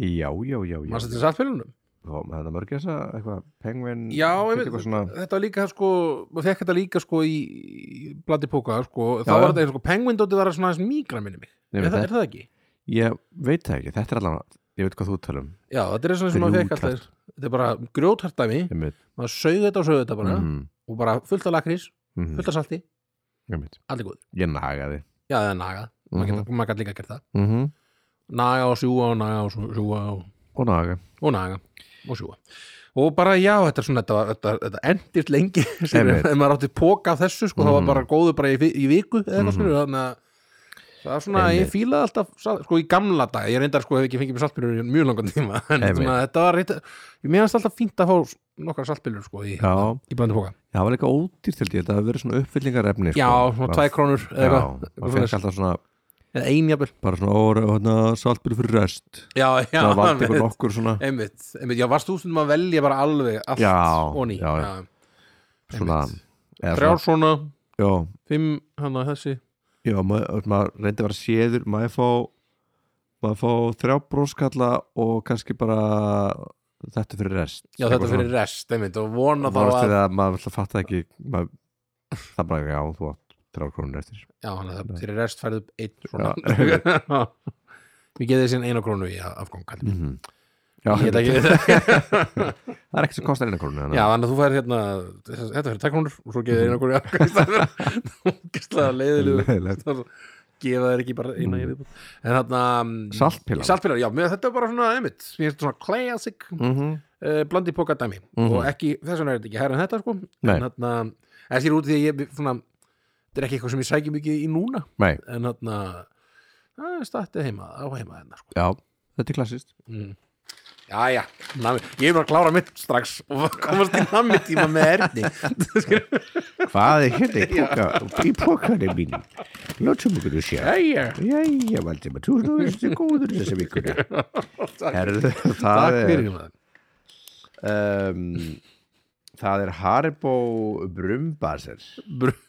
A: Já, já, já, já
B: mannst þetta saltpillunum?
A: Þá með þetta mörg þessa, eitthvað penguin
B: Já, einmitt,
A: eitthvað svona
B: þetta var líka sko maður fekk þetta líka sko í, í blandi póka sko, þá
A: Já,
B: var
A: já.
B: þetta eins og sko, penguindóti var svona aðeins mýgra minni mig,
A: Nei,
B: er,
A: veit
B: það,
A: það.
B: er það ekki?
A: Ég veit það ekki, þetta er allan Ég veit hvað þú tala um
B: Já, þetta er svona sem maður fekk alltaf þetta er bara grjóthartæmi,
A: Einmitt,
B: maður sögðu þetta og sögðu þetta bara
A: mhm,
B: og bara fullt af lakrís,
A: mhm,
B: fullt af salti
A: einmitt
B: allir góður,
A: Ég nagaði
B: já það er nagað maður
A: Mhm.
B: gæti- maður gæti líka að gera það
A: mhm,
B: naga og sjúga og naga og sjú- sjúga og
A: Og naga
B: og naga og sjúga og bara já, þetta er svona þetta, var- þetta, þetta endist lengi skilur,
A: Einmitt. Mhm.
B: ef maður átti póka af þessu sko, það var bara góður bara í, vi- í viku eða eitthvað skilur þannig að það er svona, ég
A: Einmitt.
B: fílaði alltaf sal- sko í gamla dag, ég reyndar sko hef ekki fengið mér saltbylur í mjög langan tíma en
A: Einmitt.
B: svona, þetta var reyta, ég meðast alltaf fínt að fá s- nokkrar saltbylur sko í,
A: Já, Sko,
B: í blandi póka
A: það var líka ódýrt held ég Þetta hafa verið svona uppfyllingarefni sko.
B: já, svona
A: Það-
B: tvæ krónur
A: Já,
B: eða
A: maður
B: eitthvað
A: fekk alltaf svona
B: einjabur
A: bara svona óra og hérna saltbyrðu fyrir rest
B: já, já,
A: það vart eitthvað
B: einmitt,
A: nokkur svona
B: einmitt, einmitt já, varst þú stundum að velja bara alveg allt
A: Já,
B: og ný
A: já, já. svona
B: einmitt.
A: eða
B: þrjár
A: svona-
B: svona,
A: já,
B: fimm hann að þessi
A: já, maður, maður reyndi að vera séður maður fá maður fá þrjá bróskalla og kannski bara þetta fyrir rest
B: Já, þetta fyrir rest, einmitt, og vona þá
A: maður
B: að
A: að... maður alltaf fatta ekki maður, það bara já, þú átt þrjá krónur eftir
B: Já, hann að það fyrir rest færðu einn svona Mhm. Við getum þessi eina krónu í afgang, kallir
A: já,
B: Ég get ekki
A: það er ekkert sem kostar eina krónu
B: Já, þannig að þú fær hérna Þetta fyrir takkrónur og svo gefið eina krónu í afgæðstæður Ógæstlega leiðilegu
A: Leiðilegt.
B: Það er svo- Gefa þér ekki bara eina í viðbót En þarna mm,
A: Saltpillar.
B: Saltpillar, já, mér- þetta er bara svona einmitt Mér finnst þetta svona classic
A: mm -hmm.
B: uh, blandi póka dæmi
A: Mhm.
B: og ekki, þess vegna er þetta ekki herra en þetta sko
A: Nei.
B: en þarna, en þér út í því að ég svona, þetta er ekki eitthvað sem ég sæki mikið í núna
A: Nei,
B: en hérna, þarna að, stætti heima, á heima hennar sko
A: já, þetta er klassist
B: mm. já, já, nami, ég er bara að klára mitt strax og komast í nami tíma með erni
A: Hvað er hérna í póka- í pókanum mín? Lótum okkur að sjá
B: jæja,
A: Jæja, Valdimar, þú erum þessi góður í þessi vikuna
B: takk
A: Herðu,
B: takk
A: það er
B: fyrir maður.
A: um, Það er Haribo Brumbaser
B: Br-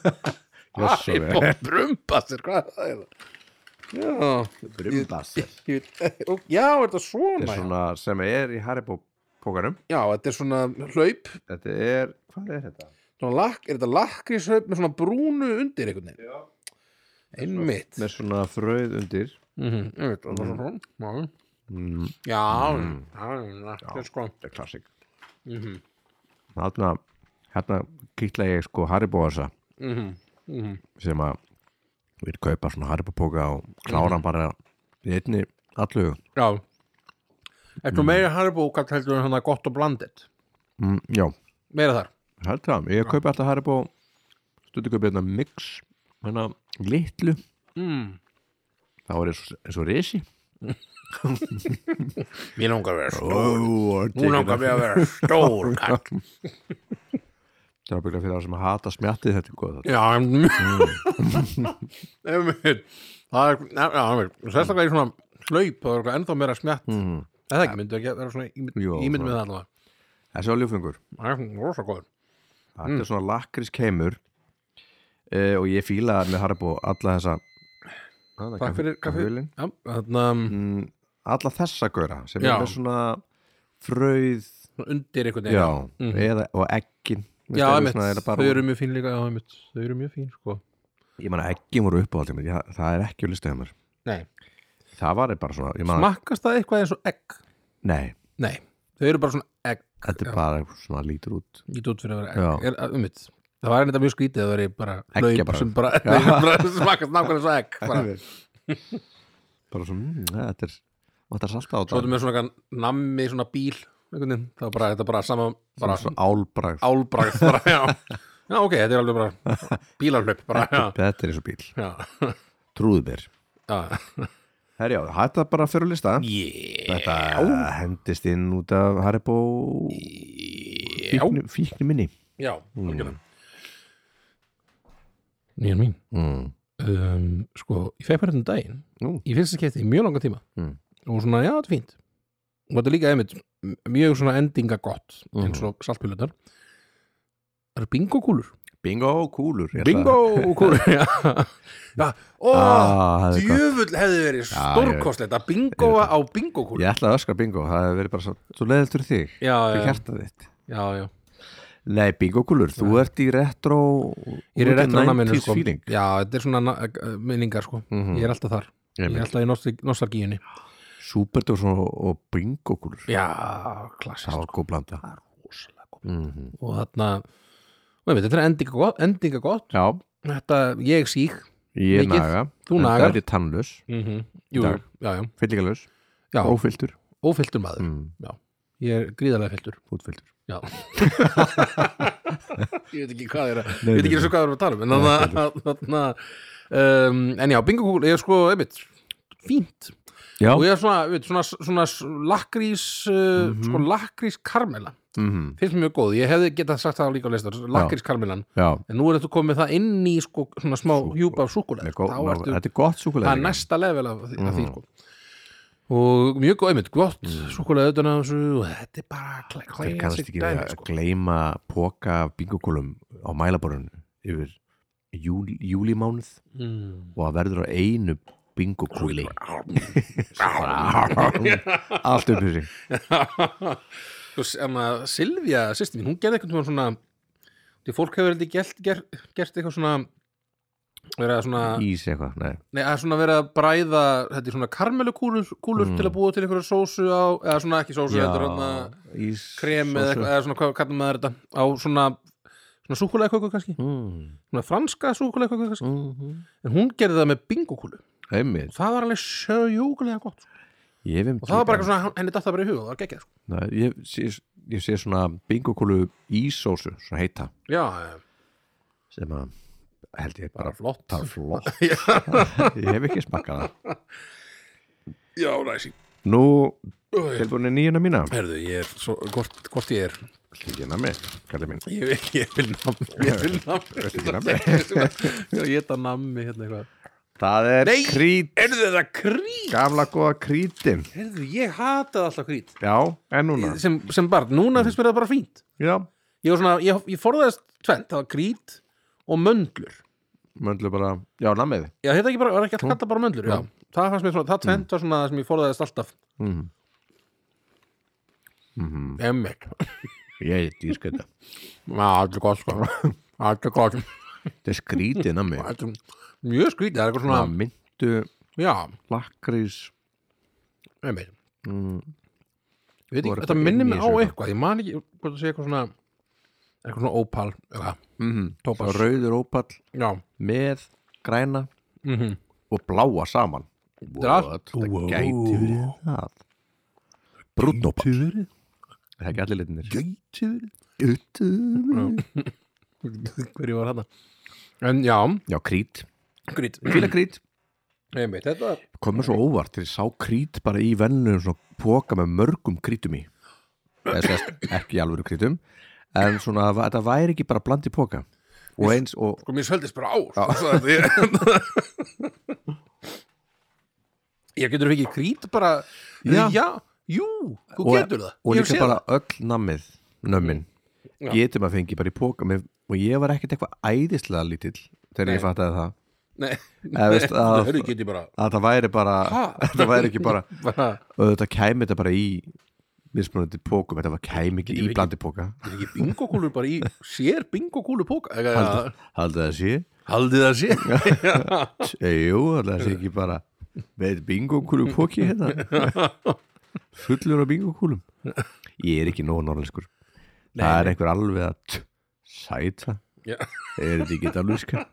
B: Æ,
A: Haribo
B: bó- Brumbasir, hvað er það er já,
A: Brumbaser
B: ég veit- ó, já, er þetta
A: Þetta
B: svona,
A: er svona sem er í Haribo pókanum
B: já, þetta er svona hlaup
A: Þetta er, hvað er þetta?
B: svona lak, er þetta lakkríshaup með svona brúnu undir einhvern veginn einmitt
A: Með svona fröð undir
B: Mhm, einmitt, og það er svona- já,
A: mm,
B: já, já, þetta er sko
A: Þetta er klassik
B: Mhm,
A: Þarna, hérna kýtla ég sko Haribo þessa
B: mhm, mhm.
A: sem að við kaupa svona haripapóka og klára
B: Mhm.
A: hann bara í einni allu
B: já eftir mm. meira Haribo hvað heldur en hann að gott og blandið
A: mm, já,
B: meira þar
A: held það, ég kaupa alltaf haripó stundu kaupa hérna mix hérna litlu
B: mm.
A: þá er eins og, eins og risi
B: mér langar að vera stór nú langar
A: það
B: við að vera stór kall
A: er bygglega fyrir það sem að hata smjattið þetta er góð þáttur.
B: já Mm. einmitt það er, já, já, einmitt sérstaklega í svona hlaup það er eitthvað ennþá meira smjatt
A: Mhm.
B: eða ekki, myndi ekki að vera svona ímynd,
A: Jó,
B: ímynd með
A: svona.
B: það allavega
A: þessi oljufengur,
B: Það er svona rosa góður
A: þetta
B: Mm.
A: er svona lakris kemur eh, og ég fíla það með haripó alla þessa
B: Takk fyrir kaffi
A: kaffivélin.
B: Já, þarna um,
A: Mm, alla þessa góra sem
B: Já.
A: er með svona fröð
B: undir einhvern veginn
A: já, eða, og eggin
B: Mhm.
A: Veist,
B: já
A: það eru
B: einmitt,
A: svona, er
B: þau
A: bara,
B: eru mjög fín líka já, einmitt, Þau eru mjög fín, sko
A: ég man að eggin voru upp á alltaf það, það er ekki á listu hjá mér
B: Nei,
A: það var bara svona, ég man að
B: smakkast það eitthvað eins og egg
A: nei,
B: Nei, þau eru bara svona egg
A: þetta er bara svona lítur út
B: Ég út fyrir að vera
A: Já.
B: egg er, að- einmitt, Það var einmitt mjög skrítið að vera bara
A: Eggjabragð.
B: laup sem bara, bara smakkast nákvæmlega eins og egg bara.
A: bara svona, mm, ja, þetta er vantar salta á
B: Svo
A: það
B: þetta með svona eitthvað nammi, svona bíl einhvern veginn, það var bara, þetta er bara sama bara
A: bara svona álbragð,
B: álbragð bara, já. já, ok, þetta er alveg bara bílarlaup bara, já,
A: þetta er eins og bíl
B: já,
A: trúðu mér
B: já.
A: herjá, hætta bara fyrir á lista
B: Yeah.
A: þetta hendist inn út af Haribo
B: Já,
A: fíkni, fíkni minni
B: já,
A: Mm.
B: algjörlega Nýjan mín
A: mm.
B: um, Sko, ég fekk mér þetta um daginn
A: Nú.
B: Ég finnst þetta kætti í mjög langa tíma
A: Mm.
B: Og svona, já, þetta er fínt Og þetta er líka einmitt m- mjög svona endinga gott
A: Mhm.
B: Eins og saltpilöndar Það eru bingo kúlur
A: bingo, kúlur ég ætla-
B: Bingo kúlur, já Já, Ó,
A: ah, það er gott.
B: djöfull hefði verið
A: Já,
B: stórkostlegt Að bingoa á bingo kúlur
A: Ég ætlaði að öskra bingo, það hefur verið bara svo, svo leiðilt fyrir þig,
B: Já,
A: fyrir
B: já,
A: hjartað þitt
B: já, já
A: Nei, bingokúlur, þú ert í retro
B: Ég er
A: út í
B: rétt á naminu
A: 90s
B: sko.
A: feeling
B: Já, þetta er svona na- eh, minningar sko.
A: Mhm.
B: Ég er alltaf þar, ég er alltaf í nostal- nostalgíunni
A: Superdós og, og bingokúlur
B: Já, klassist
A: Það var góð blanda
B: Það er rosalega gott
A: mm -hmm.
B: Og þarna, og einmitt, þetta er endinga gott, endinga gott.
A: Já,
B: Þetta, ég sík
A: ég
B: Mikið.
A: naga
B: Þú
A: En
B: nagar.
A: Það er tannlaus,
B: mm -hmm. Jú,
A: Dag.
B: já, já,
A: fyllingalus,
B: já
A: ófylltur
B: Ófylltur maður,
A: mm.
B: ég er gríðarlega fylltur
A: Útfylltur
B: Já Ég veit ekki hvað þeirra Ég
A: Nei,
B: veit
A: nei,
B: ekki eins og hvað þeirra að tala um En, þarna, þarna, um, en já, bingo kúl, ég er sko, einmitt Fínt
A: Já,
B: og ég er svona, við, svona, svona s- lakrís uh, sko lakrís karmela
A: mhm,
B: finnst mér mjög góð, ég hefði getað sagt það líka á listar, lakrís karmelan,
A: já
B: en nú er þetta komið það inn í sko svona smá hjúpa af súkulega,
A: er góð,
B: þá
A: ná,
B: ertu
A: Þetta er gott
B: það er
A: súkulega
B: næsta level af, því- af því
A: Mhm.
B: sko og mjög góð, einmitt, gott súkulega auðvitað af þessu, og þetta er bara kla- classic
A: Þeir kannast ekki við
B: dæmi
A: að
B: sko
A: gleyma póka af bingokúlum á mælaborun yfir júl, júlímánuð
B: Mm.
A: og það verður á einu bingokúli allt upp í sig
B: Mm. Þú s- en að Silvía, sýstin mín, hún gerði eitthvað svona því fólk hefur heldur gert, gert, gert eitthvað svona verið að svona
A: ís eitthvað, nei
B: Nei, það er svona verið að bræða, þetta er svona karmelukúlur kúlur
A: Mm.
B: til að búa til einhverju sósu á, eða svona ekki sósu, þetta er hérna
A: ís
B: krem eða, eitthvað- eða svona, hvað kallar maður þetta, á svona, svona súkulegaköku kannski,
A: mm,
B: svona franska súkulegaköku kannski,
A: mm,
B: en hún gerði það með bingokúlu og
A: einmitt
B: það var alveg sjöjúkulega gott sko.
A: ég hef
B: og það var bara eitthvað svona, henni datt það bara í huga, það var geggjað sko.
A: Nei, ég, sé, ég sé svona bingokúlu ísósu, svona heita
B: Já, já,
A: sem að held ég bara
B: bara flott.
A: það er flott ég hef ekki smakkað það
B: Já, ræsing.
A: nú,
B: Oj.
A: tilbúin er nýjuna mína
B: Herðu, ég er, svo, hvort, hvort ég er,
A: hlýjuna mig, kallið mín
B: ég, ég vil nammi, ég vil nammi,
A: Viltu ekki nammi?
B: ég geta nammi hérna eitthvað.
A: það er
B: Nei!
A: krít,
B: Er þetta krít?
A: gamla góða krítin
B: Herðu, ég hataði alltaf krít.
A: já, en núna
B: Sem, sem barn, núna finnst mér það bara fínt.
A: já,
B: Ég, var svona, ég, ég forðaðist tvent, það var krít og möndlur.
A: möndlu bara, já, nammiði
B: Já, þetta ekki bara, var ekki alltaf kallað bara möndlur, já. Mm. Það fannst mér svona, það tvent var svona það sem ég forðaðist alltaf. Mm-hmm.
A: mm.
B: Emmek.
A: ég er dýrskönda
B: Já, allir gott, sko. Allir gott.
A: þetta er skrítið nammi
B: Þetta er Mjög skrítið, það er eitthvað
A: svona
B: svona,
A: myndu,
B: já,
A: lakrís
B: emmek.
A: mm,
B: Ég veit
A: Voru
B: ekki, þetta
A: eitthvað
B: minnir
A: inni
B: mig á
A: í þessu eitthvað?
B: eitthvað, ég man ekki hvort það sé eitthvað svona eitthvað svona ópal, eitthvað,
A: mm,
B: tópas
A: rauður ópall
B: Já,
A: með græna
B: mm
A: og bláa saman
B: er allt-
A: What? þetta
B: Wow.
A: gæti verið það brúnn ópall það er ekki allir litinir
B: gæti
A: já,
B: verið Hverju var þarna? En já,
A: krít,
B: grít
A: fíla krít
B: Einmitt, þetta var
A: komur svo óvart til ég sá krít bara í vennu svona póka með mörgum krítum í eða sérst ekki í alvöru krítum en svona va- þetta væri ekki bara bland í póka og eins og
B: Sko, mér svelgdist bara á sko, svo að ég- Ég getur ekki grít bara
A: Já.
B: Já, jú, þú
A: og, e-
B: getur það
A: og
B: Ég hef
A: líka
B: séð
A: bara öll nammið nömmin
B: Já.
A: getur maður fengið bara í póka með, og ég var ekkert eitthvað æðislega lítill þegar ég
B: Nei.
A: fattaði það
B: það. Nei,
A: Eða veist að-
B: það get ég bara
A: að það væri bara
B: Ha?
A: það væri ekki bara
B: bara-
A: og þetta kæmi þetta bara í mismunandi pókum, þetta var kæmi ekki
B: Getum við
A: í
B: ekki-
A: blandi póka
B: Getur ekki bingokúlur bara í sér bingokúlu póka Eitthvað-
A: haldið það sé,
B: Haldið það sé
A: e, jú, haldið það sé ekki bara með bingokúlu póki hérna fullur á bingokúlum ég er ekki nóg norðlenskur
B: Nei,
A: það er einhver alveg að t- sæta
B: Já.
A: er þetta ekki dalvíska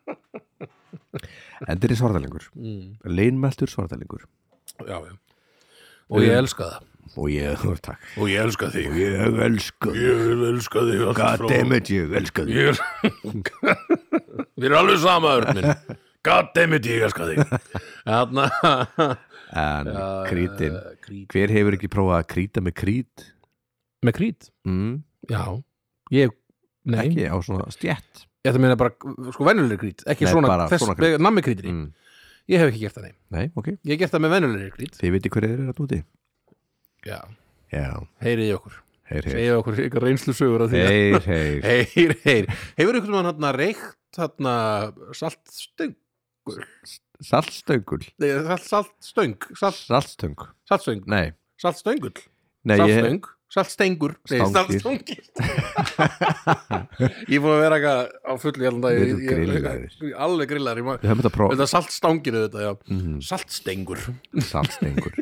A: en þetta er svartalengur
B: mm.
A: leinmæltur svartalengur
B: já, já. Og ég elska það
A: og ég, takk
B: Og ég elska þig
A: ég elska þig
B: Ég elska þig allt frá-
A: goddammit, ég elska þig
B: Ég er Við erum alveg sama örn minn Goddammit, ég elska þig Þarna
A: en krítin
B: Eh, Krít
A: hver hefur ekki prófað að kríta með krít
B: Með krít?
A: mm,
B: Já Ég, nei
A: ekki á svona stjætt
B: Ég ætla að meina bara Sko venjulegri krít Ekki
A: Nei,
B: svona,
A: bara
B: þess,
A: svona
B: svona
A: krít.
B: krít Nammi krítri
A: mm.
B: Ég hef ekki gert það nei
A: nei, ok,
B: Ég hef gert það með venjulegri krít
A: þið veitir hverju þeir eru að núti
B: Já
A: já,
B: Heyrið í okkur
A: heyr, heyr
B: Segið okkur ykkur reynslu sögur af því að-
A: heyr, heyr,
B: Heyr, heyr, hefur ykkur mann hann reykt hann saltstöng
A: saltstöngul
B: nei, salt, saltstöng salt,
A: saltstöng,
B: saltstöng,
A: nei,
B: saltstöngull
A: nei ég,
B: saltstöng, saltstengur nei,
A: Stangir.
B: saltstangir Ég fór að vera eitthvað á fullu hérna dag
A: Við erum grillaðir.
B: Alveg grillaðir, ég má
A: við höfum þetta prófað
B: Þetta saltstangir þetta, já
A: mm,
B: Saltstengur
A: saltstengur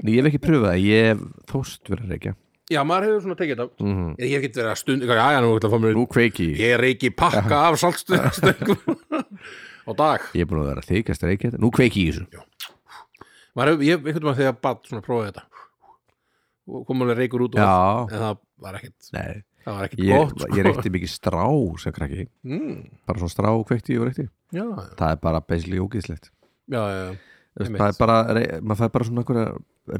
A: nei, ég hef ekki pröfað það, ég hef þóst verið að reykja
B: Já, maður hefur svona tekið þetta
A: mm.
B: Ég hef ekki verið að stund, já, já, nú ætla að fá mér
A: nú kveiki ég
B: Ég reyki pakka af saltstöngum á dag
A: ég er búin að vera að þykast að reykja þetta, nú kveiki ég í þessu
B: maður hefur, ég veitum að þegar bad svona prófaði þetta og kom alveg reykur út og allt,
A: já,
B: en það var ekkit
A: nei,
B: það var ekkit
A: ég,
B: gott sko.
A: ég reykti mikið strá sem krakki,
B: mm,
A: bara svona strá kveikti ég og reykti
B: já,
A: það er bara basically ógeðslegt
B: já, já, já,
A: Þú veist,
B: Einmitt.
A: það er bara, rey- maður fær bara svona einhverja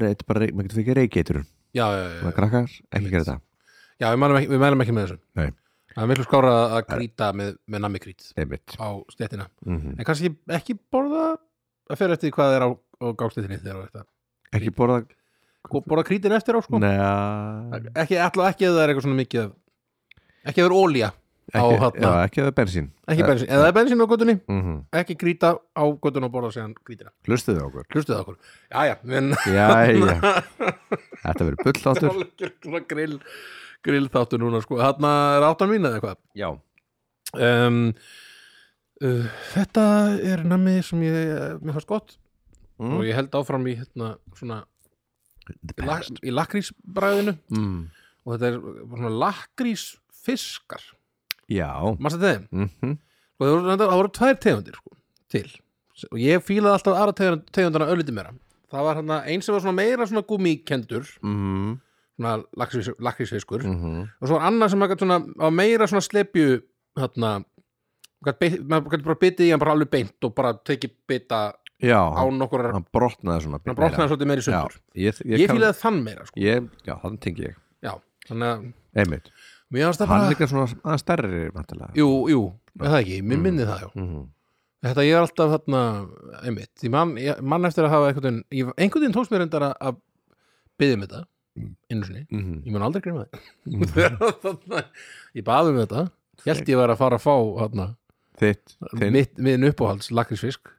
A: reyt, bara reyt, maður getur fyrir reykjætur
B: já, já, já,
A: maður krakkar, ekki gera þetta
B: já við, mælum ekki, við mælum ekki með þessu
A: Nei.
B: það er miklu skára að- að krýta með, með nammi krýt
A: einmitt
B: á stettina
A: mm
B: en kannski ekki borða að fyrir eftir því hvað er á, á gákstettinni þegar þetta
A: ekki borða,
B: borða krýtin eftir á sko
A: neða
B: ekki, alltaf ekki að það er eitthvað svona mikið af- ekki að það er ólía Á
A: ekki,
B: hotna.
A: já, ekki að það er bensín
B: ekki
A: Eh.
B: bensin, eða það er bensin á göttunni
A: mm
B: ekki krýta á göttunni og borða sér krýtina
A: hlustuðu á okkur
B: hlustuðu á okkur, já, já, en
A: já, já, þetta verður bulláttur
B: algjör svona grill grill þáttu núna sko, þarna er áttan mín eða eitthvað
A: já,
B: um, uh, þetta er nammi sem ég eh, mér fannst gott og
A: mm.
B: ég held áfram í hérna svona
A: The
B: í lak,
A: best.
B: í lakrísbræðinu
A: mm.
B: og þetta er svona lakrísfiskar
A: Já
B: mannstu þeim
A: mm
B: og það voru, reyndar- það voru tvær tegundir sko, til og ég fílaði alltaf aðra tegund, tegundana öllítið meira það var hérna eins sem var svona meira svona gúmíkendur
A: Mm
B: svona lakrís- lakrísfiskur
A: -hmm.
B: og svo var annað sem maður gætt svona á meira svona slepju hérna gat beit- maður gæti bara bitið í hann bara alveg beint og bara tekið bita
A: Já,
B: á nokkur hann
A: hann brotnaði svona
B: brotnaði svolítið meira í
A: Já,
B: sundur
A: ég, ég,
B: ég
A: kann-
B: fílaði þann meira sko
A: ég, Já, þannig tengi ég
B: já, þannig að
A: Einmitt,
B: mér fannst það
A: hann er
B: bara
A: líka svona aðeins stærri Mhm. vantilega
B: jú, jú, er það ekki,
A: Mm.
B: mér minni það já Þetta ég er alltaf þarna, einmitt, ég man, ég man eftir að hafa einhvern veginn, ég- einhvern veginn tókst mér reyndar að- að byggja um þetta,
A: Mm.
B: einu sinni,
A: Mhm.
B: ég mun aldrei gríma það. ég baði um þetta, ég held ég var að fara að fá hana,
A: Þitt, þinn
B: mitt, miðin uppáhalds lakrísfisk,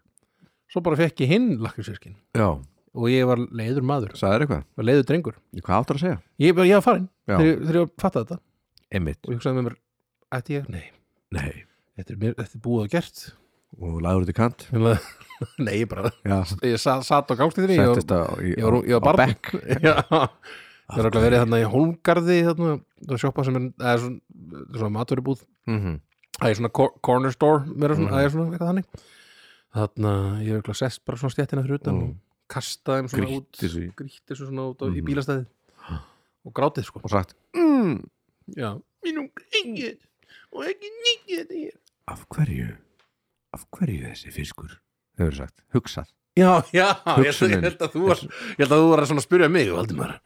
B: svo bara fekk ég hinn lakrísfiskin
A: Já,
B: og ég var leiður maður,
A: sagðir eitthvað
B: var leiður drengur.
A: Hvað áttur að segja?
B: Ég, ég var farin
A: Já.
B: þegar, ég- þegar ég fattaði þetta
A: Einmitt,
B: og ég hugsaði með mér, ætti ég, nei,
A: nei
B: þetta er, mér, þetta er búið og gert.
A: Og lagður þetta í kant
B: nei, ég bara,
A: Já,
B: ég sat, sat á gangstíðinni og
A: settist á í-
B: ég var, ég var
A: á
B: barn
A: bekk.
B: Já. ég var okkur verið þarna í Hólmgarði þarna, það sjoppa sem er það er svona, svona maturubúð
A: Mhm.
B: það er svona cor- corner store meira svona, það er svona eitthvað þannig þarna ég er okkur sest bara svona stjættina fyrir utan
A: Mm.
B: og kasta þeim svona
A: Grýtt þessu í-
B: út grýtti Mm-hmm. þessu svona út á, í
A: Mhm.
B: bílastæði og grátið sko
A: Og sagt mm,
B: já mínum engin og ekki nýtt þetta hér
A: Af hverju? Af hverju þessi fiskur? Þau eru sagt, hugsað
B: já, já, ég, held-
A: Hugsunin.
B: ég held að þú var ég held að þú var að svona spyrja mig Mm. og aldrei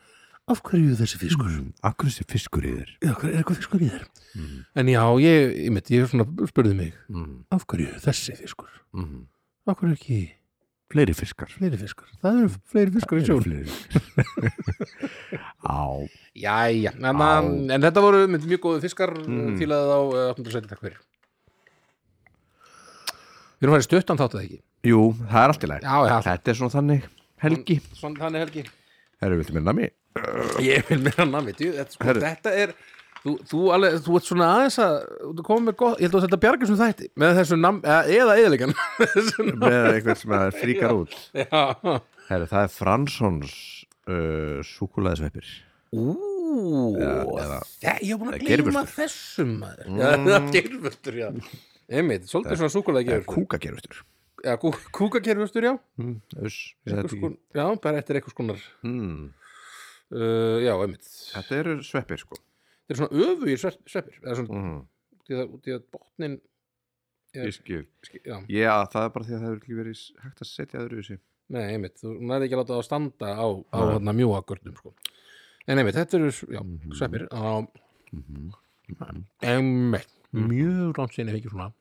B: af hverju þessi fiskur
A: Af hverju þessi fiskur í þér?
B: já, hver- er eitthvað fiskur í þér
A: Mm.
B: en já, ég, ég, mitt, ég svona spurði mig
A: Mm.
B: af hverju þessi fiskur
A: Mm.
B: af hverju ekki
A: Fleiri fiskar
B: fleiri fiskur það eru fleiri fiskur í sjón
A: Á
B: Jæja, en,
A: Á.
B: en, en þetta voru mynd, mjög góðu fiskar
A: Mm.
B: fílaði þá eh, 870 takk fyrir við erum að fara í stuttan þáttu það ekki
A: Jú, það er allt í læg
B: já, já,
A: Þetta er svona þannig helgi
B: svona þannig helgi
A: Herru, viltu minna mig?
B: ég vil meira nami, djú, þetta, sko,
A: Herru.
B: þetta er þú, þú, alveg, þú ert svona aðeins að þú komið með gott, ég held að þetta bjargar sem þætti með þessu nam, eða- eða eðalegan
A: Með eitthvað sem að fríkar út
B: já,
A: Herru, það er Franssons uh, súkulæðisveipir
B: Ú,
A: eða-
B: þe- ég hef búin að
A: eða
B: gleyma
A: geirvörtur.
B: þessum maður mm. Gerfustur, já Einmitt, svolítið svona súkulega gerfustur
A: Kúkagerustur
B: Já, kú, kúka gerfustur, já
A: mm, uss, ég
B: Einhvers
A: sagði ekki.
B: kon- Já, bara eftir eitthvað skonar
A: mm,
B: uh, Já, einmitt Þetta
A: Þetta eru sveppir sko
B: er svona öfugir sve- sveppir Eða svona,
A: mm.
B: út í það- út í að botnin
A: Ég skil
B: ski- Já,
A: Já, það er bara því að það hefur ekki verið hægt að setja öðru þessi
B: nei, einmitt Þú næði ekki að láta það standa á, á
A: Nei.
B: þarna mjúa gördum sko. En einmitt, þetta eru, já,
A: Mhm.
B: sveppir á,
A: Mhm.
B: Einmitt,
A: Mm.
B: mjög rámt sinni fyrir svona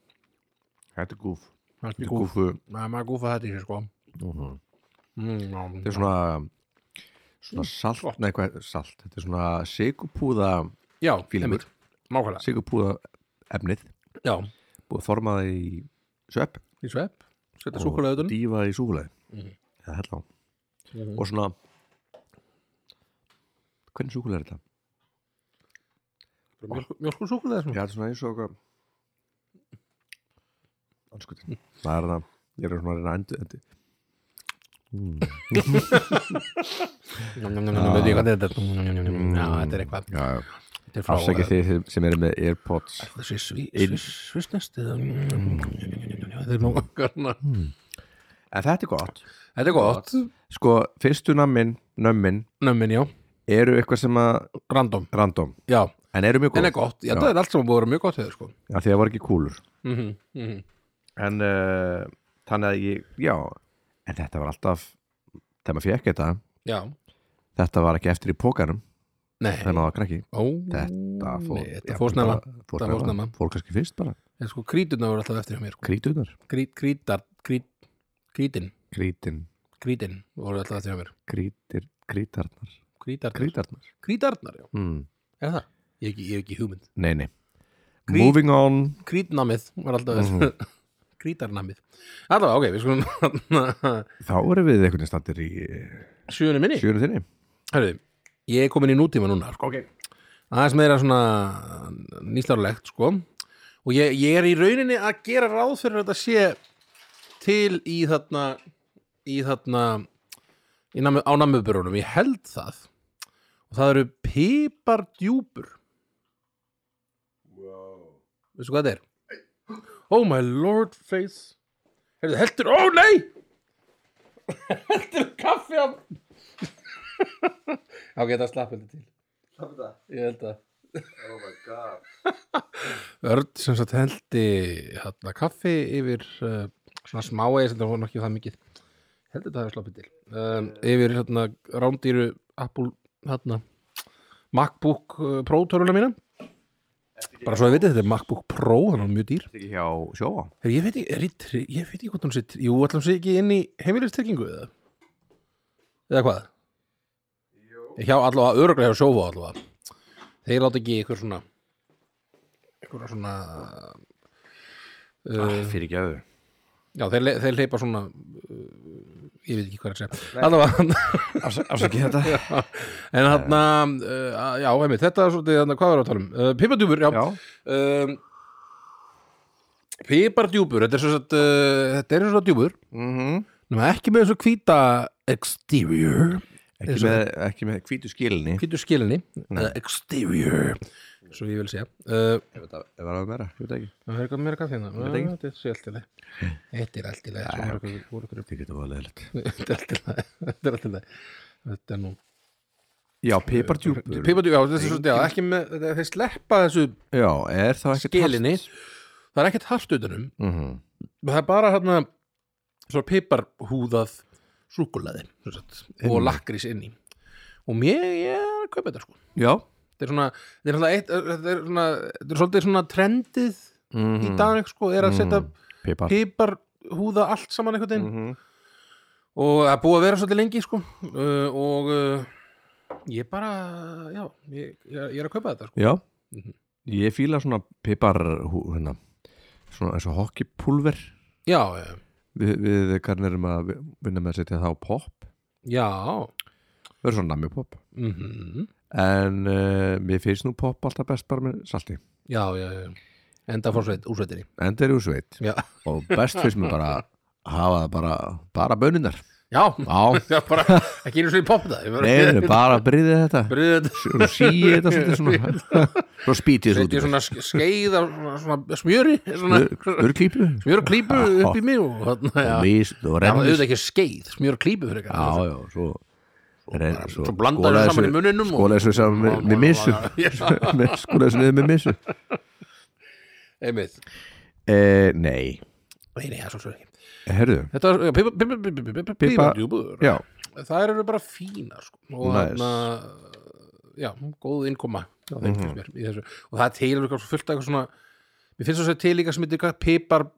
A: Þetta er gúf
B: Það er
A: Þetta
B: ekki
A: er
B: gúf,
A: gúfu
B: maður gúfa þetta í sér sko
A: Mhm.
B: Mm,
A: Þetta er svona svona salt, nei hvað, salt Þetta er svona sigupúða
B: já,
A: fílingur.
B: einmitt. nákvæmlega,
A: sigupúða efnið
B: já,
A: búið að forma það í svepp
B: í svepp setja súkulega auðvitað
A: dýfa í súkulega
B: Mhm.
A: eða hella á
B: Mhm.
A: og svona hvernig súkulega er þetta?
B: mjölkur súkulega
A: Já,
B: svona.
A: þetta er svona eins og eitthvað anskutin það er það, ég er svona að reyna að endur þetta mm.
B: Njá, njá, njá, njá, njá, veit ég hvað Ah. þetta er. Njá, njá, njá, njá, njá, já, þetta er eitthvað
A: Já, já.
B: þetta er frá eh,
A: afsækja þið sem- sem eru með Airpods
B: þessi svi-
A: Inn.
B: svis- svissnest eða- Mm, njá, njá, njá, njá, njá, njá, njá, mm, þetta er nóg þetta
A: en þetta er gott
B: er gott,
A: sko, fyrstu nammin, nömmin
B: nömmin já
A: eru eitthvað sem að
B: random,
A: random,
B: já,
A: en eru mjög
B: en
A: góð
B: er gott já,
A: Já.
B: það er allt sem búið að vera mjög gott hefur sko
A: af því að það var ekki kúlur
B: Mhm, mhm.
A: en uh, þannig að ég, já en þetta var alltaf, þegar maður fekk þetta
B: já,
A: þetta var ekki eftir í pókanum
B: nei
A: þegar maður var krakki
B: ó,
A: þetta fór,
B: Mm, nei, þetta
A: já,
B: fór snemma
A: bara-
B: Það fór
A: fór snemma,
B: snemma.
A: fór kannski fyrst bara
B: En sko, kríturna voru alltaf eftir hjá mér sko.
A: krítunar,
B: Krít, krítar, krít, krítin
A: krítin,
B: krítin voru alltaf eftir hjá mér
A: krítir krítarnar,
B: krítarnar,
A: krítarnar
B: krítarnar já,
A: mm.
B: er það ég hef ekki, ég hef ekki hugmynd
A: nei, nei,
B: Krít-
A: moving on
B: krítnamið var alltaf krítarnamið allavega, ok, við skulum
A: þá erum við einhvern veginn standir í
B: sjöunni minni
A: sjönu þinni
B: Hörðu, ég er komin í nútíma núna sko.
A: ok,
B: aðeins meira svona nýstárlegt sko. og og ég, ég er í rauninni að gera ráð fyrir að þetta sé til í þarna í þarna í namu, á namubörunum, ég held það og það eru pipardjúpur veistu hvað þetta er? oh my lord face Heyrðu, heldur, ó nei heldur kaffi á á geta slapp heldur til ég held að
C: Oh my god
B: Örn sem sagt heldi hérna, kaffi yfir uh, svona smáegi sem það var nú ekki það mikið heldur þetta hefur sloppið til um, yfir hérna, rándýru Apple hérna, MacBook uh, Pro töruna mína bara svo að veitir þetta er MacBook Pro þannig að hún er mjög dýr
A: Ekki hjá sjóa
B: Her, ég, veit ekki, er, ég, tri- ég veit ekki hvort hún sitt jú, ætlum sér ekki inn í heimilistryggingu eða eða hvað hjá allavega, öruglega hjá sjófa allavega þeir láta ekki ykkur svona ykkur svona
A: uh, Fyrir ekki öðu
B: já, þeir, le- þeir leipa svona uh, ég veit ekki hvað er að segja allavega,
A: Afsakið þetta
B: en hann uh, já, heimi, þetta er svolítið, þarna, hvað er að tala um uh, pipadjúpur, já,
A: Já,
B: Um, pipardjúpur, þetta er svo satt uh, þetta er svo satt djúpur
A: Mhm.
B: nema ekki með þessu hvíta exterior
A: ekki, með, ekki með hvítu skilni
B: hvítu skilinni uh, exterior, svo ég vil segja uh,
A: Ég veit að- Var það meira, ég veit ekki
B: það er eitthvað meira kaffi hérna
A: veit ekki.
B: Ah, þetta er svo allt í lagi. þetta er allt í lagi, svo voru okkur- voru okkur-
A: Þetta getur alveg leitt
B: þetta er allt í lagi þetta er allt í lagi. þetta er nú
A: Já, pipardjúpur
B: pipardjúpur, já, þetta er svo já, ekki með, þetta- þeir sleppa þessu
A: Já, er það ekki
B: skilinni það er ekkert hart utanum
A: mm -hmm.
B: það er bara hérna svona piparhúðað súkulaði og
A: Inni.
B: lakrís inn í og mér ég er að kaupa þetta sko
A: Já
B: þetta er svona, þetta er svona, eitt, þetta er svona, þetta er svolítið svona trendið
A: mm
B: í dag sko, er að setja Mhm.
A: Pipar
B: piparhúða allt saman einhvern veginn
A: Mhm.
B: og það er búið að vera svolítið lengi sko uh, og uh, ég bara, já, ég, ég, ég er að kaupa þetta sko
A: Já Ég fíla svona pipar hú- hérna, Svona eins og hockeypulver
B: já, já,
A: Við, við hvernig erum að vinna með að setja það á pop
B: já
A: Það er svona nammi pop
B: mm
A: En uh, mér finnst nú pop alltaf best bara með salti
B: já, já, já enda fórsveit, úrsveitinni
A: En það er úr sveit
B: já,
A: Og best finnst mér bara að hafa það bara, bara bönunar
B: já,
A: Já,
B: Já, bara, ekki einu svo í poppa það
A: neður, bara bryðið þetta
B: Bröð,
A: Svo síið þetta svolítið svona Svo spýtið
B: þetta
A: þessu
B: er svona ske- skeið af svona, svona smjöri svona,
A: út Smörklípu
B: smjör og klípu
A: Já.
B: upp í mig og þarna, já, já,
A: Lís, þú
B: það var
A: rennir
B: auðvitað ekki skeið smjör og klípu fyrir
A: Já,
B: eitthvað
A: já, svo reyn,
B: svo blandar þessu saman í munninum og-
A: Skóla þessu saman með, með missu Skóla þessu niður með missu
B: einmitt,
A: e, Nei,
B: nei, nei, það er svo svo ekki
A: herðu
B: þetta var, já, pipa- pipa- pipa- pipa- pipa-
A: Pipa-
B: pipardjúpur.
A: Já,
B: það eru bara fínar sko. og
A: Nice.
B: þarna já, góð innkoma já, mm
A: Mhm.
B: -hmm. mér, í þessu. og það er til eitthvað svo fullt af eitthvað svona mér finnst þess að til líka sem heitir eitthvað pipar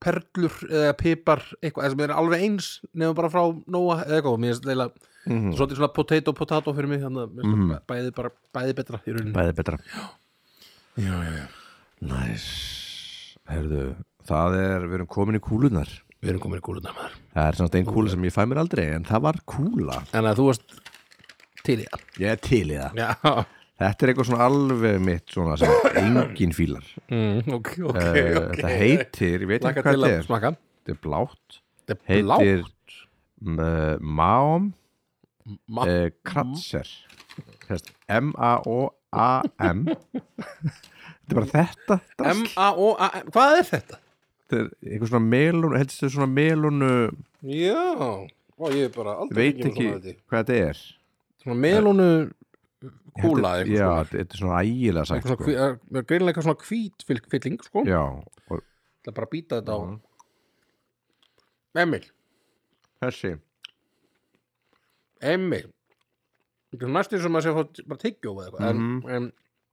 B: perlur eða pipar eitthvað eða sem er alveg eins nefnum bara frá Nóa eða eitthvað og mér finnst leila
A: Mhm.
B: svolítið svona potato potato fyrir mig þannig að mér
A: Mm.
B: finnst það bæði bara bæði betra í rauninni
A: bæði betra
B: já, já, já.
A: Næs, herðu Það er, við erum komin í kúlunar
B: við erum komin í kúluna maður
A: Það er samt einn kúla sem ég fæ mér aldrei En það var kúla
B: en að þú varst til í það
A: Ég er til í það
B: já,
A: Þetta er eitthvað svona alveg mitt svona sem engin fílar
B: mm, ok, ok,
A: okay,
B: ok
A: Það Eh, heitir, ég veit
B: Laka
A: ekki
B: til
A: hvað
B: að
A: þetta er
B: smaka
A: Þetta er blátt
B: Þetta er
A: Heitir eh,
B: blátt
A: uh, Mám
B: Ma-
A: uh, Kratzer Sest, M-A-O-A-M Þetta er bara þetta drasl.
B: M-A-O-A-M, hvað er þetta?
A: Þetta er eitthvað svona melun heldur þetta svona melunu
B: Já, Ó, ég er bara aldrei
A: veit
B: fengið
A: ekki
B: með svona,
A: hvað þetta er
B: þetta. svona melónu kúla
A: Þetta-
B: eitthvað
A: Já,
B: svona.
A: þetta er svona ægilega sagt
B: Eitthvað svona
A: sko.
B: hví- það er greinilega eitthvað svona hvít fyll- fylling sko,
A: Já, og
B: það er bara að býta þetta á Emil,
A: þessi
B: Emil Þetta er næstum sem að sé að fá bara tyggjó eða eitthvað,
A: Mhm.
B: en,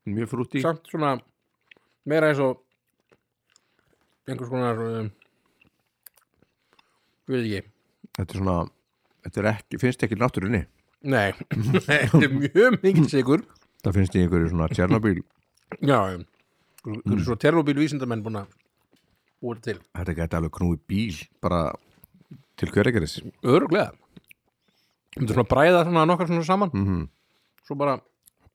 A: mjög
B: en
A: frúti
B: samt svona meira eins og einhvers konar um, við ekki
A: Þetta er svona Þetta er ekki, finnst ekki í náttúrunni
B: Nei, þetta er mjög mikið sigur
A: Það finnst í einhverju svona
B: Já,
A: Tjernobyl
B: já. Þú eru svo terrorbíl vísindamenn búin að búið til
A: Þetta gæti alveg knúi bíl bara til hverjageris
B: Öruglega Þetta er svona bræða Mhm. svona nokkar svona saman -hmm. Svo bara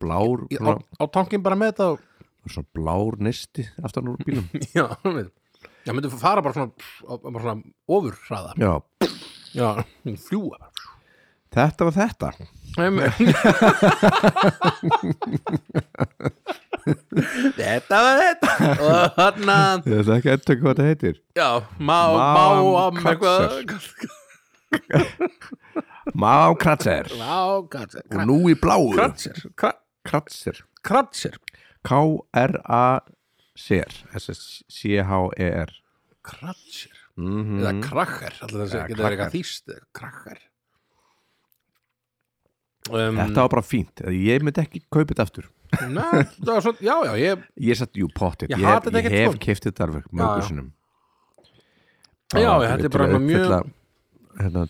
A: Blár
B: í- á,
A: svona,
B: á tankin bara með þetta og
A: var svona blár nesti aftan úr bílum
B: já, við- já, myndi fara bara svona, pff, á- bara svona ofur hraða
A: já,
B: já, fljúa bara
A: þetta var þetta
B: þetta var þetta og hann að
A: ég veit ekki eitthvað hvað þetta heitir
B: já, má, má,
A: Mám
B: am eitthvað
A: Má Kratzer
B: má, kratzer
A: og nú í bláu
B: kratzer kra-
A: Kratzer
B: kratzer
A: K-R-A-C-R S-C-H-E-R
B: kratzer
A: Mhm.
B: eða krakkar, alltaf þessi getur
A: Eða
B: verið
A: krakkar.
B: eitthvað þýst krakkar um,
A: Þetta var bara fínt, ég myndi ekki kaupið þetta aftur
B: na, Um, þetta var svona, já, já, ég
A: Ég satt, jú, pottit,
B: Ég
A: ég hef,
B: hata þetta
A: ég
B: ekkert,
A: hef
B: sko.
A: keift þetta alveg
B: Já, já.
A: mörgur sinnum
B: Já,
A: Bara
B: já, þetta er
A: til
B: bara
A: að
B: mjög-
A: uppfylla, hérna,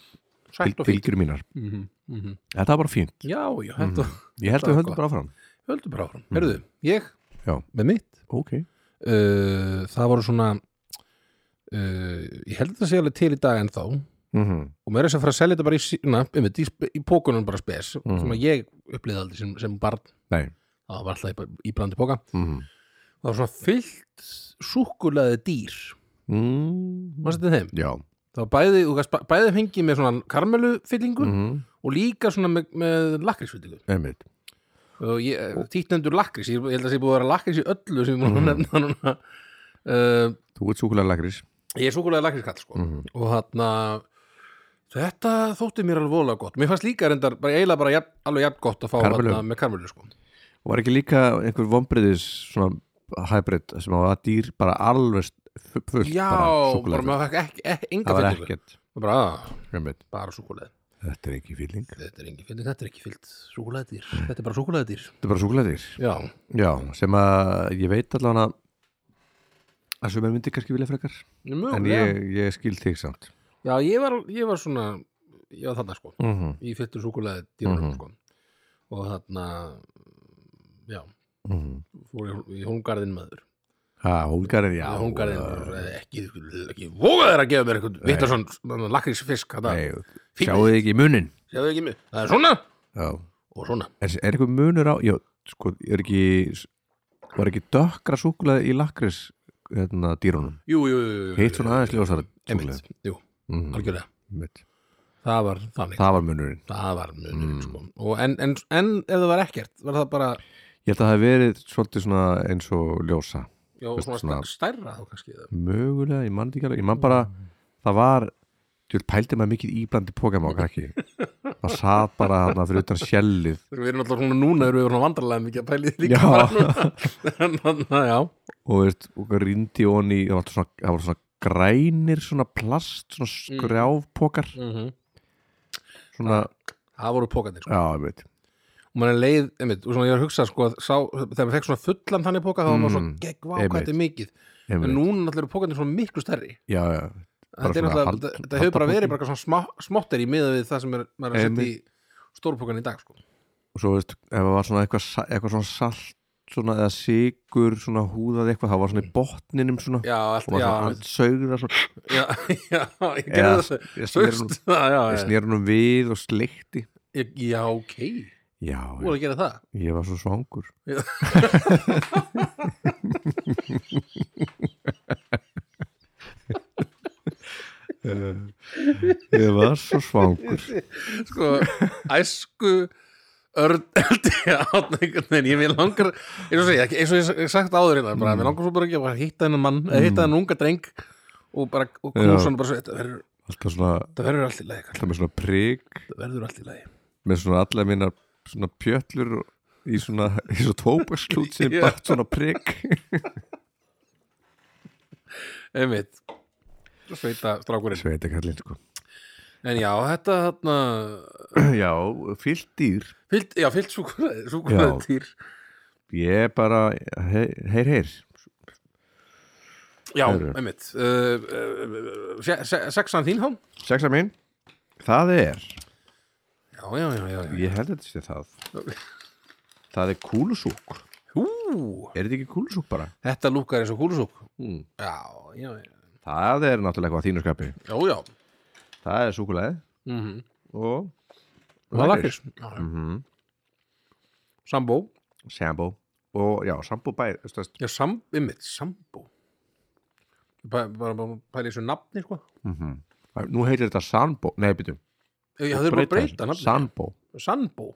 B: sætt og fínt
A: fylgjur mínar
B: Mhm, mhm.
A: Þetta var bara fínt,
B: já, já,
A: Mhm.
B: þetta var
A: ég held
B: Það
A: að
B: var
A: höndum
B: gott.
A: bara áfram
B: höldu bara áfram, herruðu, ég
A: Mhm. Já.
B: með mitt
A: Ok,
B: uh, það voru svona uh, ég held að það sé alveg til í dag ennþá og
A: Mhm.
B: mér er þess að fara að selja þetta bara í, sí- na, einmitt, í, sp- í pókunum bara spes sem að ég upplýði aldrei sem, sem barn
A: nei
B: það var alltaf í, í blandi póka
A: Mhm.
B: það var svona fyllt súkulaði dýr
A: Mm.
B: varstu þeim?
A: Já
B: það var bæði, þú gast bæ- bæði fengið með svona karmelufyllingu
A: Mhm.
B: og líka svona með, með lakrísfyllingu
A: Einmitt.
B: og ég, eh, títnendur lakrís, ég held að það sé búið að vera lakrís í öllu sem ég múin að nefna núna uh,
A: Þú ert súkulega lagris
B: ég er súkulega lakrískall sko
A: Mhm.
B: og hann þetta þótti mér alveg voðlega gott mér fannst líka reyndar, bara, eiginlega bara jafn, alveg jafn gott að fá
A: Karmelu.
B: þarna með karmelu sko
A: og var ekki líka einhver vombriðis svona hybrid sem að dýr bara alveg st- fu- fullt
B: já,
A: bara,
B: bara
A: súkkulaði.
B: maður fekk ekki, ekki enga
A: það var
B: fyllingu
A: ekkert
B: bara, að,
A: einmitt.
B: bara súkulega
A: þetta er ekki fíling
B: þetta er engin fylling, þetta er ekki fyllt súkulegadýr,
A: Mm.
B: þetta er bara súkulegadýr
A: þetta er bara súkulegðir
B: já,
A: já, sem að ég veit allavega að að sem er myndi kannski vilja frekar
B: mjög,
A: en ég, ég skil þig samt
B: já, ég var, ég var svona ég var þarna sko
A: mm -hmm.
B: í fylltur súkulega dýrunum
A: Mhm.
B: sko. og þarna já,
A: mhm.
B: fór ég í hóngarðin maður
A: ha, hólgarinn, já
B: já, hóngarðin
A: uh,
B: maður, ekki, ekki voga þær að gefa mér eitthvað vittar svona lakrísfisk þarna.
A: nei,
B: Fín-
A: sjáu þið ekki munin
B: sjáðu ekki mig, það er svona
A: já.
B: og svona,
A: er, er eitthvað munur á já, sko, er ekki var ekki dökkra súkulega í lakris hérna, dýrunum
B: jú, jú, jú, jú
A: hitt svona aðeins ljósara
B: einmitt, jú,
A: mm
B: algjörlega
A: Einmitt.
B: það var þannig,
A: Það var munurinn
B: það var munurinn
A: Mm.
B: sko. og en, en, en ef það var ekkert var það bara,
A: Ég held að það hef verið svolítið svona eins og ljósa
B: já,
A: Veist,
B: svona,
A: svona-
B: svona stærra þá kannski eða-
A: Mögulega, ég mann ekki alveg Ég mann bara, það var Þú pældi maður mikið íblandi pókama á krakki Það sat bara þarna fyrir utan sjellið
B: Þegar við erum alltaf svona núna erum við svona vandralega mikið að pæli því
A: Já.
B: líka bara núna en, na, já,
A: Og veist, og rindi onni Það var svona, það var svona grænir svona plast, svona skrjáfpókar
B: mm
A: Svona,
B: það voru pókarnir sko.
A: já, ég veit
B: og mann er leið, einmitt, og svona ég var að hugsa sko, að sá, þegar maður fekk svona fullan þannig póka þá var maður svona
A: Mm,
B: gegg, vá, hvað
A: einmitt.
B: þetta er mikið en
A: einmitt.
B: núna alltaf eru pókarnir svona miklu stærri
A: Já, já,
B: þetta
A: Bara
B: er
A: svona
B: náttúrulega,
A: hald-
B: þetta- þetta hefur bara
A: haldapóki.
B: verið bara svona smá, smáttir í miða við það sem er, maður er að setja í stórpókan í dag sko.
A: og svo veist, ef það var svona eitthvað, sa- eitthvað svona salt svona, eða sigur, svona húðað eitthvað það var svona í botninum svona
B: já, allt,
A: og maður
B: já,
A: svona ansaugur það svona
B: já, já, ég gerði
A: Eða-
B: þessu
A: ég sneri honum-
B: Sjöfst, já, já,
A: ég
B: já,
A: snýr húnum við og sleikti
B: Ég- já, ok þú
A: já,
B: voru að gera það
A: ég var svo svangur
B: Já.
A: Eh, ég var svo svangur
B: sko, æsku örn eldi átna einhvern veginn, ég mér langar eins og, segja, ekki- eins og ég hef sagt áður hérna
A: Mm.
B: bara, mér langar svo bara ekki að bara hitta hennan mann eða hitta hennan unga dreng og bara og
A: Já.
B: knúsa hann bara svo, þetta verður,
A: alltaf svona,
B: þetta verður allt í lagi kall,
A: alltaf með svona prik
B: þetta verður allt í lagi
A: með svona alla mínar svona pjöllur og- í svona, í svona tópaslút sem
B: Já.
A: yeah. bætt svona prik
B: einmitt sveita strákurinn,
A: sveitakallin sko
B: en já, þetta þarna
A: já, fyllt dýr
B: fyllt, já, fyllt súkulaði, súkulaði týr
A: ég bara, heyr, heyr, heyr.
B: já,
A: Heyrðu.
B: einmitt uh, uh, uh, se- se- sexan þín hán
A: sexa mín það er,
B: já, já, já, já, já.
A: ég held að þetta sé það það er kúlusúk
B: Hú,
A: er þetta ekki kúlusúk bara?
B: þetta lúkar eins og kúlusúk
A: Mm.
B: já, já, já,
A: það er náttúrulega eitthvað að þínu skapi
B: já, já.
A: það er súkulæði
B: Mm
A: og
B: Og það lakrís
A: Mhm.
B: Sambó
A: sambó og já, sambú bær stöðst,
B: Já, sam, ymmið, sambú Bara, bara, bara pæli þessu nafni, sko
A: mm nú heitir þetta sambó, nei, byrju
B: Já, þeir eru bara að breyta nafni
A: sambó,
B: Sambú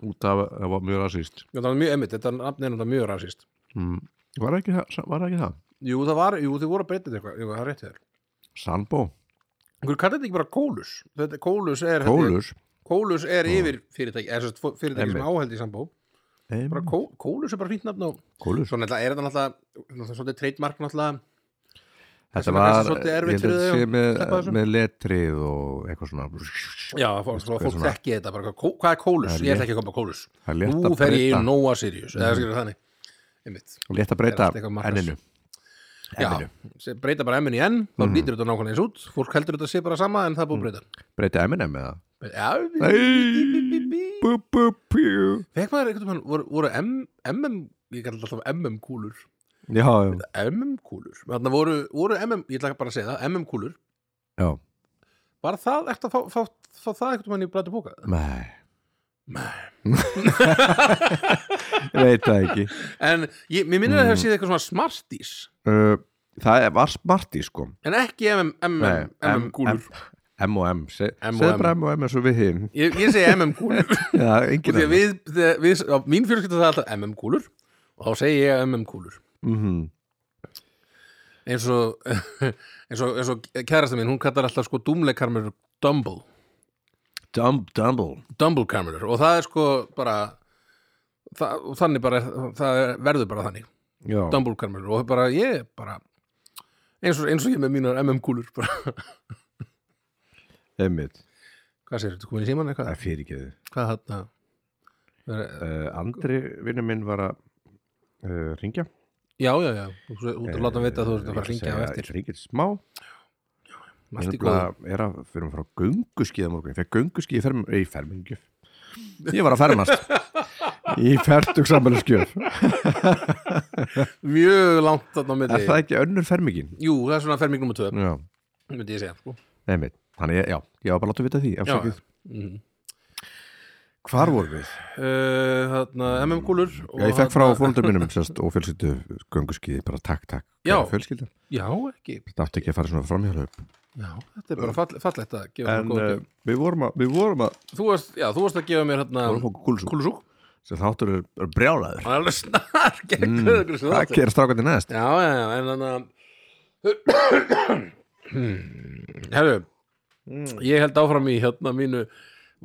A: út af, það var mjög rasist
B: Já, það var mjög ymmið, þetta nafni er náttúrulega mjög rasist
A: mm. var, það ekki, það- var það ekki það?
B: Jú, það var, jú, þið voru að breyta þetta eitthvað Jú, það er rétt þér
A: Sambó,
B: Hvernig kallar þetta ekki bara kólus? Þetta, kólus er hérna-
A: kólus
B: Kólus er yfir fyrirtæki eða sérst fyrirtæki sem
A: Einmitt. Mm.
B: áhældi í sambó
A: Em,
B: bara kó, Kólus er bara fínt nafn á
A: kólus,
B: Svo náttúrulega er þetta náttúrulega náttúrulega svolítið trademark náttúrulega
A: þetta
B: sem er kannski
A: var
B: svolítið
A: ég
B: erfitt
A: held að
B: fyrir þau að
A: þetta sé
B: sleppa
A: með,
B: þessu.
A: með letrið og eitthvað svona
B: Já, fólk,
A: Veistu hvað
B: fólk
A: svona-
B: þekki þetta bara, hvað hvað er kólus?
A: Það er
B: Ég ætla ekki að koma kólus
A: það er létt
B: Nú
A: að
B: fer ég í
A: breyta, Mm.
B: Nóa Sirius eða skilur þannig Einmitt.
A: létt að
B: er
A: breyta
B: allt eitthvað markas.
A: enninu
B: Já,
A: Enninu.
B: se- breyta bara M-in í N þá
A: Mm.
B: lítur þetta nákvæmlega eins út, fólk heldur þetta sé bara sama en það er búið að breyta
A: breyta M&M enninu með það
B: Já,
A: Nei bú, bú, pjú.
B: fekk maður einhvern veginn voru, voru M, MM, ég kallar alltaf MM-kúlur
A: Já, já,
B: MM-kúlur, þannig voru, voru MM ég ætla bara að segja það, MM-kúlur
A: já
B: Var það, ertu að fá, fá, fá það einhvern veginn í blættu bóka?
A: Nei,
B: Nei.
A: ég veit það ekki
B: En ég, mér minnir að það hefur séð eitthvað svona smartís
A: uh, Það er- var smarti sko
B: en ekki MM,
A: Nei,
B: MM, MM-kúlur
A: M og M, Se-
B: M og
A: segðu
B: M.
A: bara M og M eins og við hinn
B: Ég, ég segi MM-kúlur
A: Já,
B: Því
A: enginn
B: að
A: annar.
B: við, þegar við, á mín fjölskylda það er alltaf MM-kúlur og þá segi ég MM-kúlur
A: Mhm.
B: eins og, eins og, eins og kærasta mín, hún kallar alltaf sko dúmleikarmur Dumble,
A: Dumb, dumble
B: Dumblekarmur og það er sko bara það, og þannig bara, það er, verður bara þannig
A: Já,
B: Dumblekarmur og bara ég bara eins og, eins og ég með mínar MM-kúlur bara,
A: einmitt
B: hvað sér, þetta komin í síman
A: Það
B: eitthvað,
A: er fyrirgeðu
B: hvað þarna Það er-
A: uh, Andri vinnu minn var að uh, ringja
B: Já, já, já, þú þú ert að láta hann vita að þú ert
A: Eh,
B: að fara að ringja á eftir
A: Ringið smá
B: Allt í
A: Ég
B: góðu
A: nefnilega er að fyrir að fara á gönguskíða morgun ég fekk gönguskíði ferm, í fermingjöf ég var að fermast í fertug samfélagsgjöf
B: Mjög langt þarna á
A: er
B: milli
A: það ekki önnur fermingin?
B: Jú, það er svona ferming nummer 2
A: Já,
B: myndi ég segja sko.
A: nefnir Þannig, já, ég var bara að láta vita því
B: Já,
A: afsakið.
B: mm.
A: Hvar vorum við?
B: uh, Þarna MM-kúlur
A: Já, ég fekk frá fólundar mínum sérst, og fjölskyldu gönguskíði bara takk, takk
B: Já.
A: fjölskylda
B: Já, ekki
A: Þetta átti ekki að fara svona framhjálaup
B: Já, þetta er bara fall, fallegt að gefa mér
A: Eh. En
B: góða
A: uh,
B: gjöf.
A: við vorum að, við vorum að
B: Þú varst, já, þú varst að gefa mér hérna
A: vorum að fóka gulsúk
B: kúlusúk
A: sem þáttur er, er brjálaður
B: Það er alveg snar gegn mm.
A: Hvað gerir strákandi næst?
B: Já, já, já, en þannig að Herru Ég held áfram í hérna mínu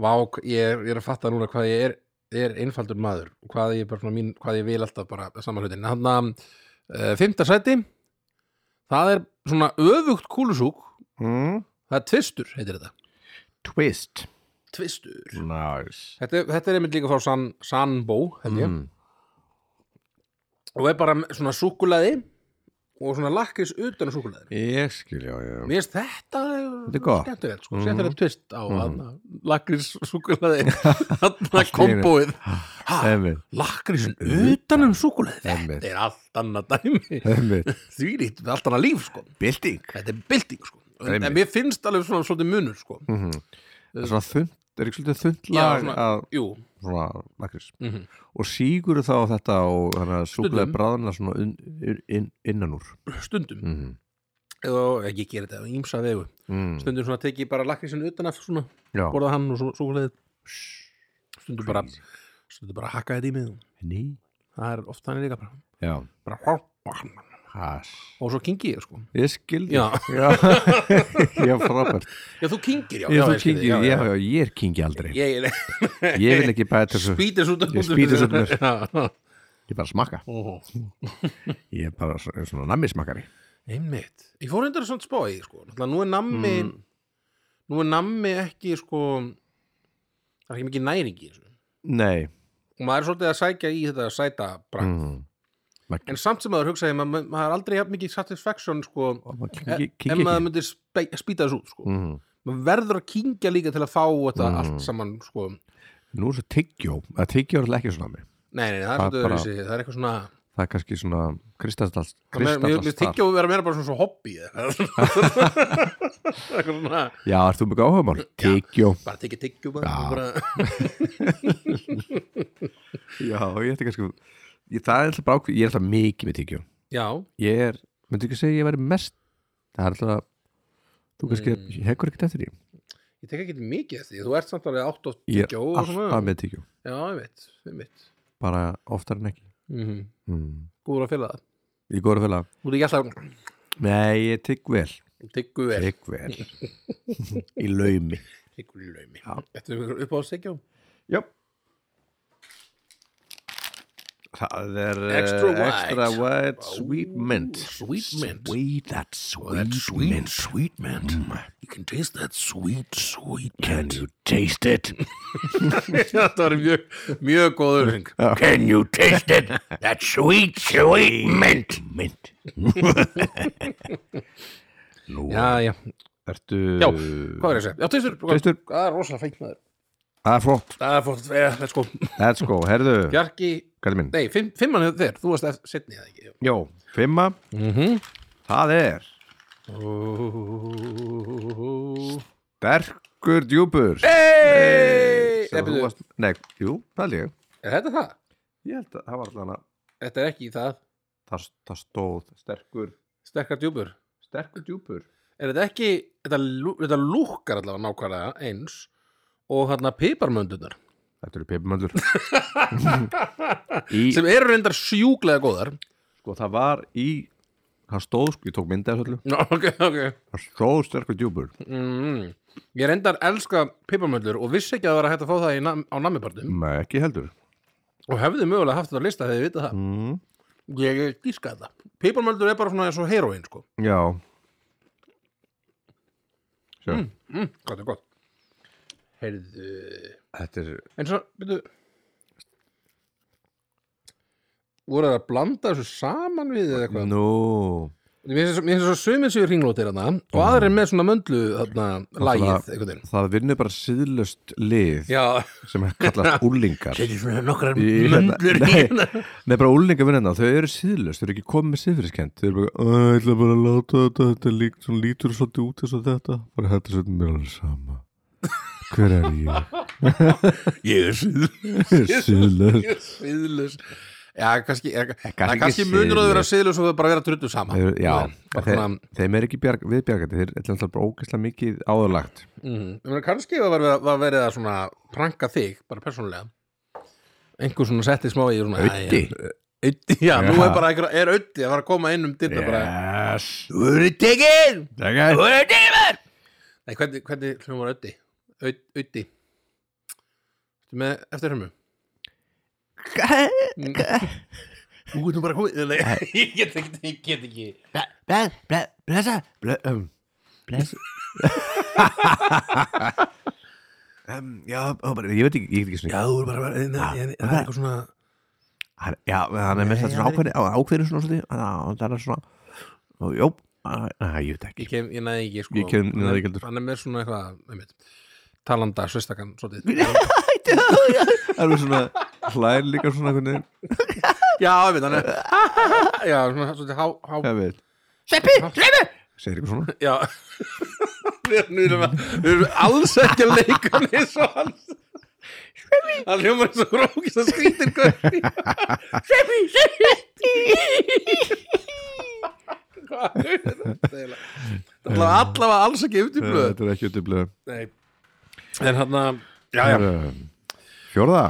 B: Vák, ég er, ég er að fatta núna hvað ég er, er einfaldur maður og hvað ég, bara, svona mín, hvað ég vil alltaf bara saman hlutin Þannig að uh, Fymta sæti Það er svona öfugt kúlusúk
A: Mm.
B: Það er tvistur, heitir þetta
A: Twist
B: Tvistur
A: Nice
B: Þetta, er- þetta er einmitt líka frá San, Sanbó held ég
A: Mm.
B: og er bara svona súkulaði og svona lakkis utan á súkulaði
A: Ég skil, já, já
B: Mér finnst þetta
A: Þetta er gott.
B: skemmtilegt, sko,
A: Mhm.
B: skemmtilegt tvist á mm. hann, lakrís-súkulaði
A: Allt
B: hann
A: í einu.
B: komboið Ha,
A: Emið,
B: lakrísin utan um súkulaði
A: Einmitt.
B: þetta er allt annað dæmi
A: emið
B: því lít, allt annað líf, sko
A: Bilding
B: þetta er bylting, sko en,
A: Einmitt.
B: en mér finnst alveg svona svolítið munur, sko
A: Mhm. Svona þund, er ekki svolítið þund
B: Já,
A: lag
B: svona-
A: að
B: jú,
A: svona lakris
B: Mhm.
A: og sígur þá þetta og þannig að súklaði bráðina svona inn, inn, innan úr
B: stundum
A: mm -hmm.
B: og ég ger þetta á ímsa vegu stundum svona teki ég bara lakrísin utan af svona,
A: Mm. Já,
B: borða hann og súkulaði stundum bara stundum bara hakka þetta í miðum
A: ný
B: það er oft þannig líka bara,
A: Já,
B: bara
A: has
B: og svo kingi ég, sko
A: Ég skildi
B: Já.
A: já, já frábært
B: Já, þú kingir, já.
A: Ég, þú
B: ég skil
A: kingi,
B: þig,
A: já, já, já, ég er kingi aldrei Ég,
B: Ég
A: vil ekki bæta þessu
B: spýtis út
A: Ég spýtis út úr.
B: mér.
A: Ég bara smakka
B: Já.
A: Ég er bara svo- svona nammi smakkari
B: Einmitt. Ég fór hendur svona spá í, sko. Náttúrulega nú er nammi,
A: Mm.
B: nú er nammi ekki, sko, það er ekki mikið næring í þessu.
A: Nei
B: Og maður er svolítið að sækja í þetta sæta brak.
A: mm. Maður-
B: En samt sem maður hugsaði, maður, maður er aldrei jafn mikið satisfaction, sko,
A: maður
B: e-
A: kingi- kingi
B: ef maður
A: ekki.
B: myndi spe- spýta þessu út, sko.
A: Mhm.
B: Maður verður að kingja líka til að fá þetta
A: Mm.
B: allt saman, sko.
A: Nú er svo tyggjó að tyggjó er alltaf ekki svona nammi
B: Nei, nei, það er
A: Það er
B: svolítið
A: bara-
B: öðruvísi. Það er eitthvað svona,
A: það er kannski svona kristallast
B: Mér
A: kristallast þar
B: tyggja að vera meira bara svona svo hobby eða eitthvað Eitthvað svona
A: já, ert þú mjög áhugamál? tyggjó
B: Bara tyggja tyggju bara,
A: Já.
B: bara.
A: já, ég ætti kannski ég, það er alltaf brák, ég er alltaf mikið með tyggjó
B: Já,
A: ég er, myndi ekki segja ég væri mest það er alltaf þú kannski mm. hekkur ekkert eftir því
B: ég tek ekki mikið eftir því Þú ert samt alveg átt og
A: ég
B: tyggjó
A: er
B: og svona.
A: alltaf með tyggjó
B: Já, ég veit, ég veit.
A: bara oftar en ekki
B: Mm -hmm.
A: mm.
B: Góður að fylga það
A: ég góður fyrir
B: Þú ert ekki alltaf
A: nei, ég tygg vel
B: tyggju vel
A: tygg vel í laumi
B: Tyggju í laumi
A: Já.
B: Þetta er upp á tyggjó
A: já Það er eh,
B: Extra wide.
A: extra wide sweet mint
B: Sweet mint
A: Sweet, that sweet,
B: sweet
A: mint, sweet mint.
B: You can taste that sweet, sweet
A: Can you taste it?
B: Þetta var mjög, mjög góður hring
A: Can you taste it? That sweet, sweet mint. Mint. Nú,
B: Já, Uh, já,
A: ertu...
B: Já, hvað er ég að segja? Já, teistur,
A: Teistur.
B: Það er rosalega fænt maður
A: Það er flott.
B: Það er fótt, eh, let's go
A: Let's go, herðu.
B: Bjarki,
A: Kallið minn.
B: nei, fimm, fimmann hefur þér Þú varst eftir setni eða ekki
A: Jó, fimma,
B: mm -hmm.
A: það er Berkur djúpur.
B: Hey!
A: Sem þú
B: Epidu,
A: varst- Nei, jú, það er ég.
B: Er þetta það?
A: Ég held að það var allan að
B: Þetta er ekki það
A: það, það stóð sterkur,
B: Sterkar djúpur
A: sterkur djúpur.
B: Er þetta ekki, þetta, lú- þetta lúkkar allavega nákvæmlega eins Og hérna piparmöndunar
A: Þetta eru pepimöndur. í,
B: Sem eru reyndar sjúklega góðar
A: sko, það var í, það stóð, sko, ég tók myndið af þessu öllu.
B: Ná, ok, ok
A: Það er svo sterkur djúpur
B: Mm. Ég reyndar elska piparmöllur og vissi ekki að það var hægt að fá það í nam á namibartum
A: Nei, ekki heldur
B: og hefði mögulega haft þetta á lista þegar ég vitað það
A: mm.
B: Ég gíska þetta Piparmöllur er bara svona eins og heroín sko
A: Já Sjá,
B: mm, Gott er gott Heyrðu
A: þetta er
B: En svo, byrju voru það að blanda þessu saman við eða eitthvað
A: Nú
B: Mér finnst svo- mér finnst svo sumið séu hringlótir þarna og aðrir með svona möndlu þarna lagið einhvern veginn
A: Það vinnur bara síðlust lið
B: Já,
A: sem kallast úlingar
B: þetta er svona nokkrar
A: Í- hérna-
B: möndlur
A: Nei.
B: hérna
A: Nei, bara úlingar vinna hérna, þau eru síðlust, þau eru ekki komið með síðfyrirskend þau eru bara, "Æ, ég ætla bara að láta þetta þetta lík, svona, lítur svolítið út þess að þetta bara þetta er svolítið mér alveg sama Hver er ég?
B: Ég er síður
A: síðlust
B: siðlust já, kannski, er, kannski,
A: kannski
B: kannski
A: ekki
B: munur að
A: siðlaus.
B: vera siðlust og bara vera truttu saman
A: Þeir, já,
B: Bara
A: þeir,
B: svona,
A: þeim er ekki bjarg, viðbjargandi þeir er alltaf bara ógeðslega mikið áðurlagt
B: mm, ég meina, kannski var verið, var verið að svona pranka þig, bara persónulega einhver svona setti smá í svona,
A: Auddi?
B: Æ, já, Auddi, já, nú
A: Já.
B: er bara einhver, er auði að fara að koma inn um dyrna bara,
A: Yes
B: þú eru tekinn
A: Þegar
B: þú eru tekinn maður!" nei, hvernig, hvernig hljómar auði auði með eftir hrjumu Þú getur bara komið Nei, Ég get ekki, ég get ekki
A: Blessa Blessa um, Já, og bara, ég veit ekki, ég veit ekki svona
B: Já, þú er bara, bara það er eitthvað svona
A: Hann- Já, hann er með þetta svona ákveðin ákveðin svona svolítið hann- hann er svona og Jó, að, ég
B: Ég
A: veit ekki
B: kem, ég næði ekki, sko
A: Ég kem-
B: Hann er-
A: náði ekki heldur.
B: Hann er með svona eitthvað, einmitt Talanda, svestakan, svolítið
A: Það er svona hlær líka svona einhvern veginn
B: Já, einmitt, hann er Já, svona svolítið há, há
A: Ég veit
B: Sveppi, sveppi
A: Segir eitthvað svona
B: Já Við erum, við erum, við erum alls ekki að leika hann eins og hann Sveppi Hann hljómar eins og grókist að skrítir Sveppi, sveppi Hvað er þetta? Það er allavega- allavega alls ekki eftirblöð
A: Þetta Øh, er ekki öllublu
B: Nei En hann að Já, já
A: Øh, Fjórða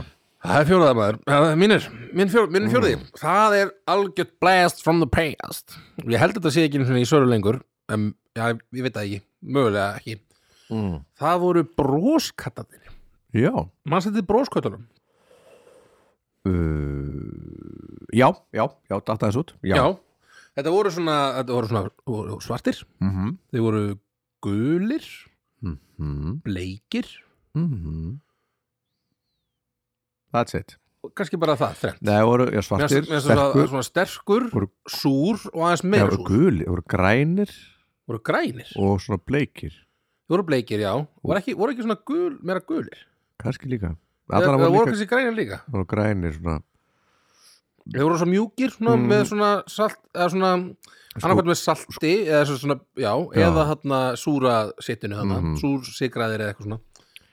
B: Það er fjóraða maður Það er Mínir, minn, fjór, minn fjóraði Það er algjört blast from the past Ég held að þetta sé ekki einu sinni í söru lengur um, Já, ég veit það ekki Mögulega ekki
A: mm.
B: Það voru broskattatir
A: Já
B: Mann setið broskattunum
A: uh, Já, já, já, datta þessu út Já,
B: Þetta voru svona, þetta voru svona voru svartir
A: Mhm.
B: Þeir voru gulir,
A: Mhm.
B: bleikir
A: Mhm. That's it
B: og Kannski bara það, þrenn
A: Nei, það voru já, svartir,
B: Mér finnst það
A: sterkur
B: svona sterkur,
A: Voru-
B: súr og aðeins
A: Nei,
B: meira
A: það voru
B: súr
A: gulir, það voru grænir
B: voru grænir
A: og svona bleikir
B: Þú voru bleikir, já. Voru ekki, voru ekki svona gul, meira gulir.
A: kannski líka
B: Eða
A: Allar
B: eða
A: voru
B: voru
A: líka
B: kannski grænir líka.
A: voru grænir svona
B: þeir voru svo mjúkir svona,
A: Mm.
B: með svona salt eða svona,
A: Sko,
B: annarkvæmt með salti eða svo svona, já, eða þarna súra sitinu þarna,
A: Mhm.
B: súrsikraðir eða eitthvað svona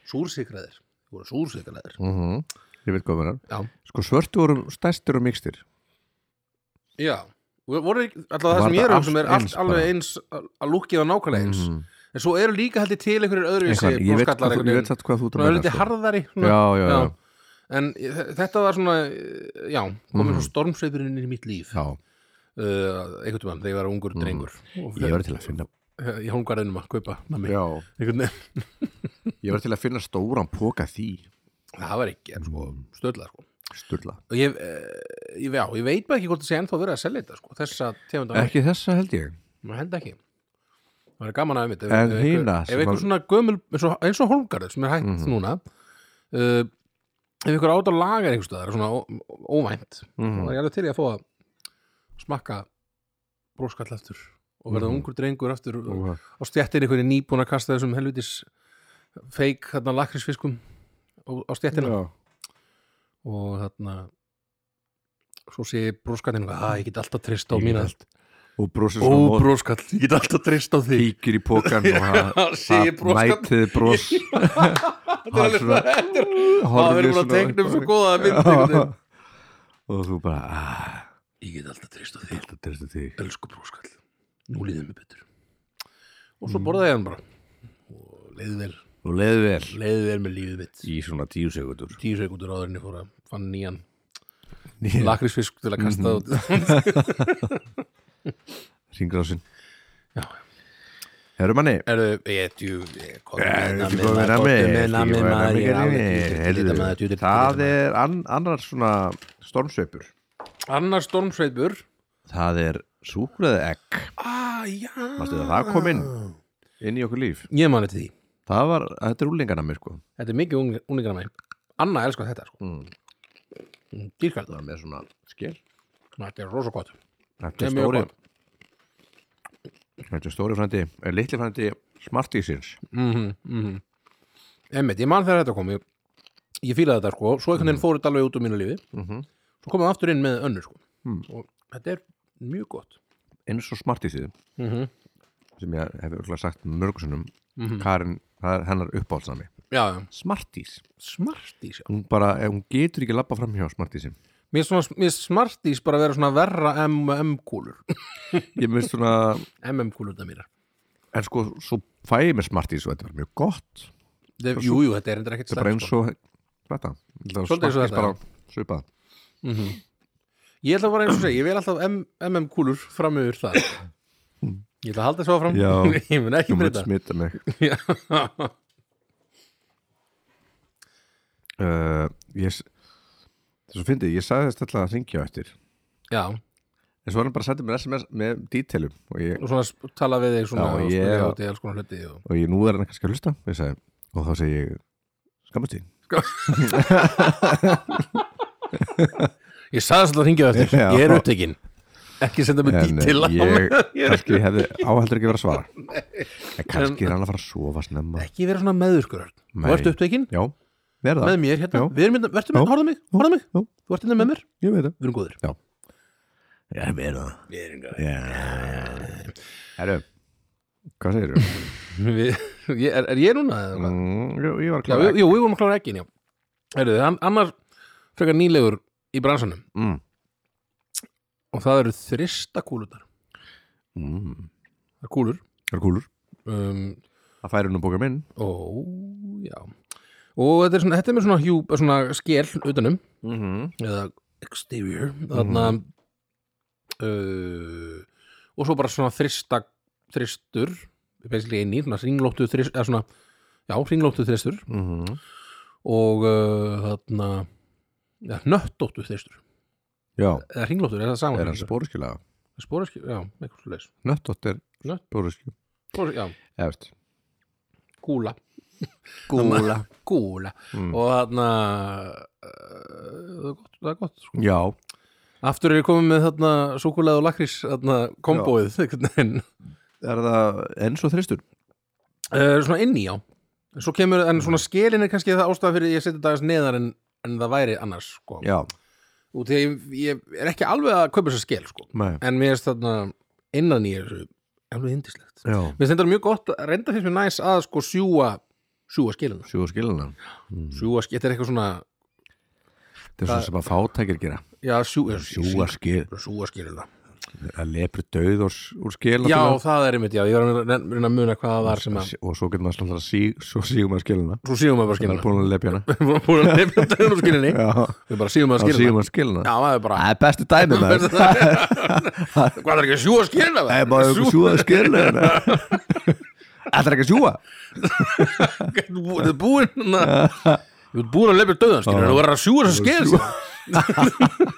B: súrsikraðir, Þeir voru súrsikraðir
A: Mhm. Ég veit hvað það
B: Já.
A: er Sko svörtu voru stærstir og mikstir
B: já, Og voru ekki- alltaf það
A: Var
B: sem ég
A: þetta
B: er um sem
A: allt
B: er allt
A: eins bara?
B: alveg eins að að lukkið á nákvæmlega eins en svo eru líka heldur til einhverjir öðruvísi
A: Eitthvað, Mhm. Ég veit
B: broskallar
A: hvað þú-
B: einhvern
A: ég
B: veginn.
A: veit satt hvað þú ert að
B: svona
A: meina,
B: ölliti
A: sko.
B: harðari svona.
A: Já, já, já,
B: en þe- þetta var svona eh, já, komið mm. stormsveipurinn inn í mitt líf
A: Mhm. já. Mhm.
B: uh, einhvern veginn þegar ég var ungur drengur og
A: Ég verður til að finna
B: í hóngarðinum að kaupa nammi.
A: já.
B: einhvern veginn,
A: Ég verður til að finna stóran póka því
B: það var ekki en sko, stöðla sko.
A: Sturla
B: og ég, eh, ég, já, ég veit bara ekki hvort það sé ennþá verið að selja þetta sko, þessa tegund af
A: Ekki þessa held ég
B: maður held ekki það er gaman aðeins ef
A: En
B: einhver-
A: hina
B: ef
A: sem
B: einhver
A: að- Mhm.
B: svona gömul eins og, eins og holmgarður sem er hægt núna uh, ef einhver át að laga einhver stöðar svona ó- ó- óvænt
A: Mhm.
B: og það er alveg til ég að fá að smakka bróskall aftur og verða
A: Mhm.
B: ungur drengur aftur og, og stjættin einhverju nýbúin að kasta þessum helvitis feik þarna lakrisfiskum á, á stjættina
A: Já.
B: og þarna svo sé bróskallin að ég get alltaf treyst á
A: Ég get
B: mína
A: allt- Og brosir svona
B: ó
A: mót
B: bróskall, ég get alltaf treyst á þig
A: Píkir í pókan og það
B: Já, sé ég broskall
A: Mætið bros
B: Þetta er alveg- þetta er- Það verður bara teiknum svo góða að myndi
A: Og þú bara ah,
B: Ég get alltaf treyst á þig,
A: Þetta er þetta þig Mm.
B: elsku bróskall Nú líðum við betur Og svo borðaði ég hann bara Og leiði vel,
A: Og leiði vel
B: leiði vel með lífið mitt
A: Í svona tíu segundur
B: Tíu sekundur áður en ég fór að fann nýjan
A: Lag
B: Lakrísfisk til að kasta
A: Mhm.
B: út
A: Ringrásin
B: Já.
A: Herru manni
B: Erðu, ég er djú Ég er komið
A: Eh,
B: með
A: ekki
B: nammi,
A: komið með
B: maður, komið
A: nammi,
B: með
A: ekki
B: nammi,
A: komið með
B: maður,
A: nammi,
B: ég er alveg djú, djú,
A: gerði.
B: djú,
A: Heyrðu,
B: djú, maður, djú, djú, djú,
A: Það
B: djú, djú,
A: er ann- annar svona stormsveipur
B: djú. Annar stormsveipur
A: Það er súklaði egg
B: Ah, já
A: Manstu þegar það kom inn? inn í okkur líf
B: Ég mani til því
A: Það var, þetta er úlingana mér sko
B: Þetta er mikið uningar með Anna elskar þetta sko
A: mm.
B: Dýrkælt
A: Það var með svona skil
B: Þetta er rosa gott
A: Þetta er
B: Nei, mjög
A: stóri
B: gott.
A: Þetta er stóri frændi, er litli frændi Smartísins
B: mhm, mhm Einmitt, ég man þegar þetta kom Ég, ég fílaði þetta sko Svo einhvern veginn fór þetta alveg út úr mínu lífi
A: Mm. Mhm.
B: Svo komum við aftur inn með önnur sko
A: Mm.
B: Og þetta er mjög gott
A: eins og Smartísið
B: mhm,
A: sem ég hef örugglega sagt mörgsunum
B: mhm.
A: Karin, það er hennar uppáhaldsami
B: Já, já,
A: Smartís
B: smartís já.
A: hún bara, eh, hún getur ekki lappa fram hjá smartísin
B: Mér er svona, mér er smartís bara að vera svona verra MM-kúlur
A: ég minnst svona,
B: MM-kúlur það mér
A: en sko svo fæ ég mér smartís og þetta var mjög gott
B: Jú, jú, þetta er endur ekkert
A: þetta er bara eins
B: sko.
A: og þetta, þetta
B: Svolítið eins og
A: Smarties
B: þetta,
A: bara svipað
B: Ég ætla bara eins og segja, ég vil alltaf M- MM-kúlur fram yfir það Ég ætla að halda svo fram
A: Já.
B: Ég mun ekki
A: þú mött
B: breyta
A: smita mig
B: Já.
A: uh, ég s- þess að fyndi, ég sagði þess alltaf að ringja á eftir
B: Já,
A: en svo var hann bara að senda mér sms með detailum og ég,
B: og svona sp- tala við þig svona
A: Já,
B: og
A: ég-
B: spyrja út í alls konar hluti og...
A: og ég nú er hann kannski að hlusta og, ég sagði, og þá segi ég skammast þín
B: Ég sagðist alltaf að hringja á eftir,
A: Já.
B: ég er upptekinn ekki senda mig
A: en
B: dítil
A: eh, ég kannski hefði áhaldur ekki verið að svara en kannski
B: En-
A: er hann að fara að sofa snemma
B: ekki vera svona meðurkur Örn.
A: Nei.
B: Þú ert upptekinn
A: já, verða
B: með mér hérna,
A: Já.
B: við erum hérna, verður
A: Já.
B: með, horfðu á mig, horfðu á mig
A: Já.
B: Þú ert hérna með mér,
A: Ég veit það
B: við erum góðir
A: Já, við erum það
B: Við erum
A: Já. Herru, hvað segir þú?
B: góðir Er er ég núna? eða hvað?
A: Mm, jú, ég var
B: Já,
A: klar
B: jú, jú, við vorum að klára ekkin, já Heyrðu, an- Annar frekar nýlegur í bransanum
A: mm.
B: og það eru þristakúlunar
A: Mm.
B: Það er kúlur
A: Það er kúlur
B: um,
A: Það færi nú bóka minn
B: Ó, já Og þetta er, svona, þetta er með svona, hjú, svona skél utanum
A: mm -hmm.
B: eða exterior þarna uh, og svo bara svona þrista þristur basically inn í, svona ringlóttu þrist eða svona, já, ringlóttu þristur
A: Mm -hmm.
B: og uh, þarna ja, nöttóttu þristur
A: Já,
B: eða ringlóttur, er það saman?
A: er hann spóruskjöla
B: Spóraskjö, já, eitthvað svo leis
A: Nöttótt er
B: Nött.
A: spóruskjöla
B: Spóra, já,
A: Eftir
B: gúla Gúla Gúla
A: Mm.
B: og þarna uh, það er gott, það er gott sko.
A: Já,
B: Aftur er ég komið með þarna súkulega og lakrís þarna kombóið einhvern veginn
A: er það eins og þristur
B: Uh, svona inn í já Svo kemur, en svona skelin er kannski það ástæða fyrir að ég setja dagast neðar en, en það væri annars sko.
A: Já,
B: og þegar ég, ég er ekki alveg að kaupa þess að skel sko.
A: Nei.
B: en mér er þarna innan í þessu alveg indislegt
A: Já,
B: mér stendur mjög gott, reynda finnst mér næs að sko sjúa sjúa skilina
A: sjú og skilina
B: sjúa, skil- þetta er eitthvað svona
A: Þetta er svona sem að fátækir gera
B: já, sjú, já,
A: Sjúa skil,
B: sjúa skilina
A: að lepri döð úr, úr skil
B: já,
A: náttúrulega.
B: það er einmitt, já, ég var að reyna- reyna að muna hvað það var sem að
A: Og svo getur maður alltaf að sí, svo sígum að skilina
B: svo síðum við bara
A: Það er
B: skilina
A: búin að lepja hana
B: við erum búin að nefna döðun og skilinni
A: Já,
B: við bara síðum að
A: þá
B: skilina
A: sígum að skilina
B: já, það er bara
A: Það er bestu dæmið maður
B: hvað er ekki að sjúa skilina
A: Það er bara eitthvað sjúa skilina Það er ekki að sjúa
B: Þetta er búin Þú ert búin að leipja döðan skilur Þú verður að sjúa þess að skeið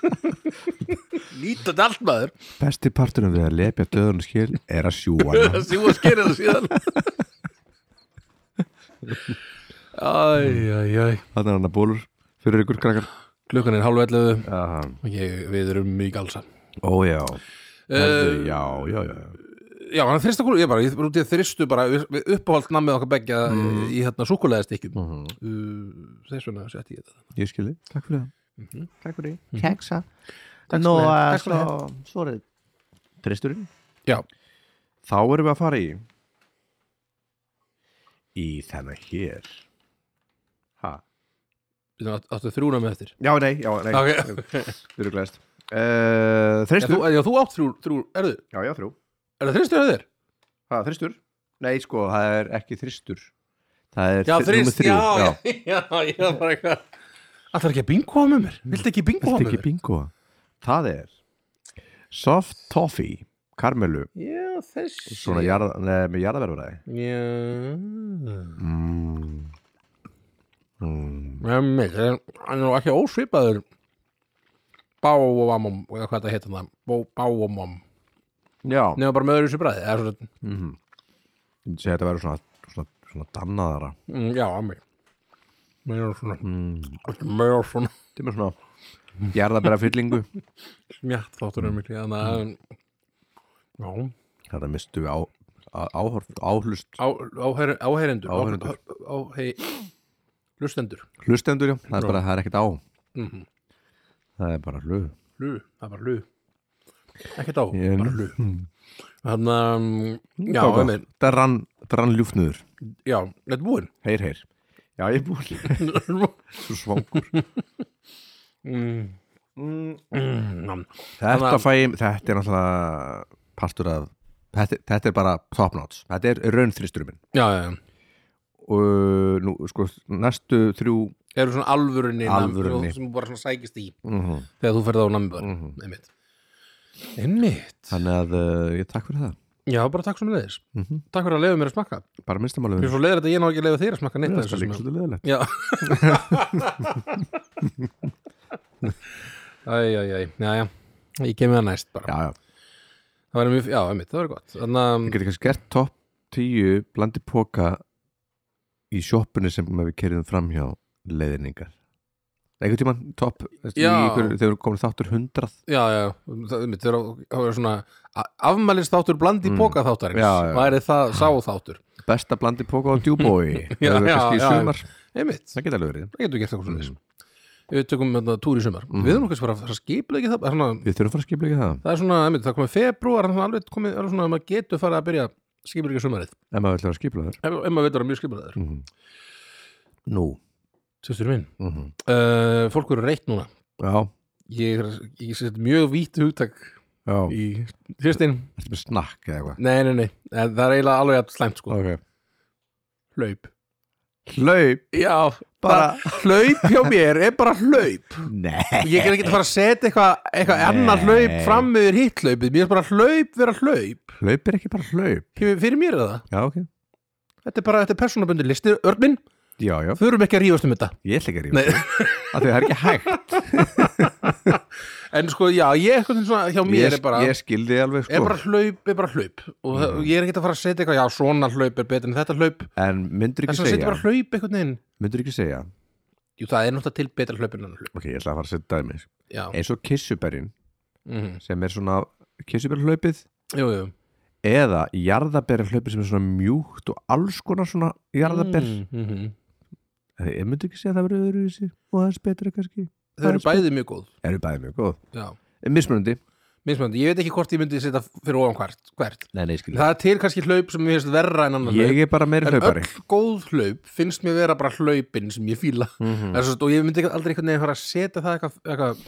B: Lítat allt maður
A: Besti parturinn við að lepja döðun skil er að sjúa hana.
B: að sjúa skeið þetta síðan Æ, æ, æ
A: Þarna er hann að bólur fyrir ykkur krakkar
B: Klukkan er hálf ellefu
A: Aha.
B: okay, Við erum mjög galsa
A: Ó já
B: Uh,
A: Herðu, Já, já, já
B: já, hann þrista kúlu, ég bara, ég bara út í að þristu bara við, við uppáhald namið okkar begja
A: Mm.
B: í hérna súkulegaðistykkjum mm uh, þess vegna setti ég þetta
A: Ég skilði, takk fyrir það
C: Takk fyrir keksa
B: Mhm. Takk
C: Nú,
B: fyrir-
C: eh,
B: takk fyrir
C: svo, svo er þetta
A: Tristurinn
B: Já,
A: Þá erum við að fara í Í þennan hér Ha?
B: við áttu- áttu þrjúna með eftir
A: Já, nei, já, nei
B: Ok.
A: Við erum glæst uh,
B: Já,
A: Þristur
B: þú, já, þú átt þrjú, þrjú erðu,
A: Já, já, þrjú
B: er það þristur að þér?
A: Ha, þristur? Nei, sko, það er ekki þristur Það er
B: Já,
A: þri- númer
B: þrist,
A: þrjú
B: já, já, já, ég var bara eitthvað Það er ekki að bingoa með mér,
A: Mm.
B: viltu ekki bingoa
A: Þetta
B: með
A: ekki
B: mér?
A: bingo Það er Soft Toffee Karmelu
B: Já, þessi
A: Svona jarð, nei, með jarðaverfræði
B: Já,
A: mm. Mm.
B: með mér, hann er nú ekki ósvipaður Bá og mamam, eða hvað þetta heitir það, Bó, bá og mam
A: Já
B: Nefna bara með öðru sér bræði, eða svona,
A: Ég segi þetta verður svona, svona, svona dannaðara
B: mm, já, að mig Meira svona, mm. meira svona
A: Þetta er með svona jarðabera fyllingu
B: Mjatt þáttur er mikli, þannig
A: Mm.
B: að Já,
A: Þetta mistu við á, á, áhorf, áhlust
B: á, áher, áherendur
A: Áheyrendur.
B: áhey, Lustendur
A: hlustendur já, það er
B: Já.
A: bara, það er ekkert á
B: Mhm.
A: Það er bara hlut
B: Lu, það var lu Ekkert á,
A: Ég-
B: bara lu Þannig að, um, já,
A: Tóka.
B: einmitt
A: Þetta er rann, þetta rann ljúfnuður
B: Já, þetta er búinn
A: Heyr, heyr Já, ég er búin Svo svangur
B: Mm, mm, nam.
A: Þetta
B: að-
A: fæ ég, þetta er náttúrulega partur af Þetta, þetta er bara top notch Þetta er raun þristurinn minn
B: Já, já, já
A: Og nú, sko, næstu þrjú
B: Eru svona alvörunni nam-
A: Alvörunni.
B: sem þú bara svona sækist í
A: mm
B: þegar þú ferð á nambar
A: Mhm.
B: einmitt Einmitt
A: Þannig að uh, ég takk fyrir það
B: Já, bara takk svo með þeir
A: Mhm.
B: Takk fyrir að leiða mér að smakka
A: Bara minnstamálum
B: Mér er svo leiðir þetta að ég ná ekki að leiða þér að smakka neitt af
A: Það er
B: þessu sem
A: líka
B: ég-
A: svolítið leðilegt
B: Já Æj, æj, æj, já, já Ég kemur það næst bara
A: Já, já
B: Það verður mjög, já, einmitt, það verður gott um, Þannig að,
A: Ég geti kannski gert topp 10 blandi póka í sjoppunni sem við kerjum fram hjá leiðinningar einhvern tímann topp í
B: Já.
A: ykkur, þegar við komum þáttur 100
B: já, já Það einmitt, þegar það verður svona Afmælist þáttur blandi
A: Mm.
B: mm. póka þáttar
A: Já, já.
B: Það er það sá þáttur
A: besta blandi póka á djúbói
B: Já, já,
A: eða kannski í
B: já.
A: sumar
B: Einmitt, það
A: það geta alveg verið
B: getur gert eitthvað svona Við tökum þetta túr í
A: Mhm.
B: sumar Við erum kannski bara að skipla ekki það það er svona,
A: við þurfum að fara að skipla ekki það
B: Það er svona, einmitt, það komið februar Þannig að alveg komið, alveg svona, að maður getur farið að byrja skipla ekki sumarið
A: ef maður ætlar að skipla þér
B: Ef, ef maður veitur að mjög skipla þær
A: nú
B: Sýstur minn
A: mm
B: uh, Fólk eru reitt núna
A: já,
B: ég, er- ég set mjög vítt hugtak
A: já,
B: í Kristinn,
A: þetta er með snakk eða eitthvað
B: nei, nei, nei en það er eiginlega alveg jafn slæmt sko
A: okay.
B: hlaup,
A: hlaup
B: já,
A: Bara-
B: bara, hlaup hjá mér er bara hlaup
A: nei,
B: ég er ekki að fara að setja eitthvað eitthva annar hlaup
A: Nei.
B: fram yfir hitt hlaupið mér er bara hlaup vera hlaup
A: hlaup er ekki bara hlaup
B: Fyrir- fyrir mér er það,
A: já, ok
B: þetta er bara þetta er persónabundur listi, örminn,
A: já, já,
B: þurfum ekki að rífast um þetta
A: ég ætla ekki að rífa
B: Nei.
A: þig. af því að það er ekki hægt
B: en sko, já, ég er eitthvað svona hjá mér
A: ég,
B: er bara
A: ég skildi alveg sko Mm.
B: er bara hlaup, er bara hlaup og það, ég er ekki að fara að setja eitthvað, já, svona hlaup er betur en þetta hlaup,
A: En myndur ekki
B: þess að setja
A: segja
B: bara hlaup einhvern veginn
A: Myndur ekki segja
B: Jú, það er náttúrulega til betra hlaup en annar hlaup
A: Ok, ég ætla að fara að setja dæmi
B: Já,
A: Eins og kissuberinn
B: mhm,
A: sem er svona Kissuberinn
B: jú, jú
A: Eða jarðaberinn sem er svona mjúkt Og alls konar svona jarðaber
B: mm, mhm.
A: eh, Ég myndur ekki segja að það verður öðru í sig Og það er betra kannski
B: þau eru bæði mjög góð
A: eru bæði mjög góð Eh,
B: já.
A: mismunandi,
B: mismöndi, ég veit ekki hvort ég myndi setja fyrir ofan hvert, hvert.
A: nei nei skilja
B: það er til kannski hlaup sem mér finnst verra en annan
A: ég er bara meiri
B: en
A: hlaupari
B: öll góð hlaup finnst mér vera bara hlaupin sem ég fíla
A: Mhm.
B: mm -hmm. og ég myndi ekki- aldrei einhvern veginn fara að setja það eitthvað, eitthvað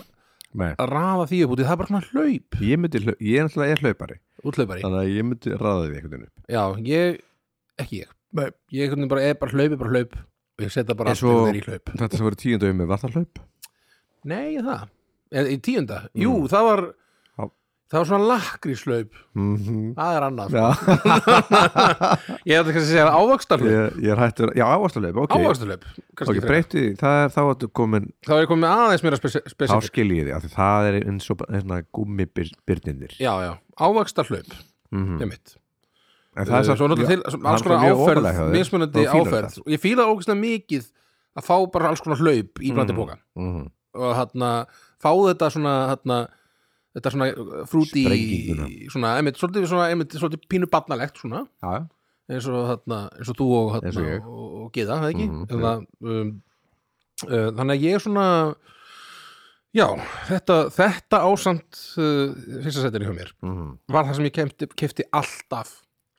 A: Nei.
B: að rafa því upp út í það er bara svona hlaup
A: ég, myndi, hlau- ég er náttúrulega er hlaupari
B: útlaupari,
A: þannig að ég myndi ræða því einhvern veginn upp
B: já, ég ekki ég,
A: Nei.
B: ég einhvern veginn bara er bara hlaup, er bara hlaup og ég setja bara
A: En
B: allt
A: svo-
B: svo... í hlaup
A: þetta sem voru tíundu um mig, var það hlaup?
B: nei, það, Eða í tíunda jú,
A: Mm.
B: það var
A: Já.
B: það var svona lakríslaup
A: Mm -hmm.
B: það er annað,
A: já,
B: ég ætla kannski að segja ávaksta hlaup,
A: ég, ég er hættur já, ávastahlaup, ok,
B: kannski
A: okay
B: okay,
A: breyti, því, það er þá að þú komin
B: þá er ég komið aðeins meira
A: þá
B: spesifik
A: skil ég því, af því það er eins og hérna svona gummibyrninir
B: já, já, ávaksta hlaup
A: mm
B: ég mitt
A: en
B: það er Eh, svo náttúrulega til svo- alls konar áferð, mismunandi áferð og ég fíla ógeðslega mikið að fá bara alls konar hlaup í blandi
A: Mhm.
B: bóka
A: mm.
B: og hann fá þetta svona hann þetta svona frúti
A: Sprenginguna.
B: svona, einmitt, svolítið, svona, einmitt, svolítið pínu barnalegt svona
A: já, já.
B: eins og, þarna, eins og þú og,
A: Eins
B: þarna,
A: og ég.
B: og, og Giða, það ekki?
A: Mhm,
B: Mm, um, uh, þannig að ég er svona já, þetta, þetta ásamt uh, fyrsta setinu hjá mér
A: Mm.
B: var það sem ég kefti, kefti alltaf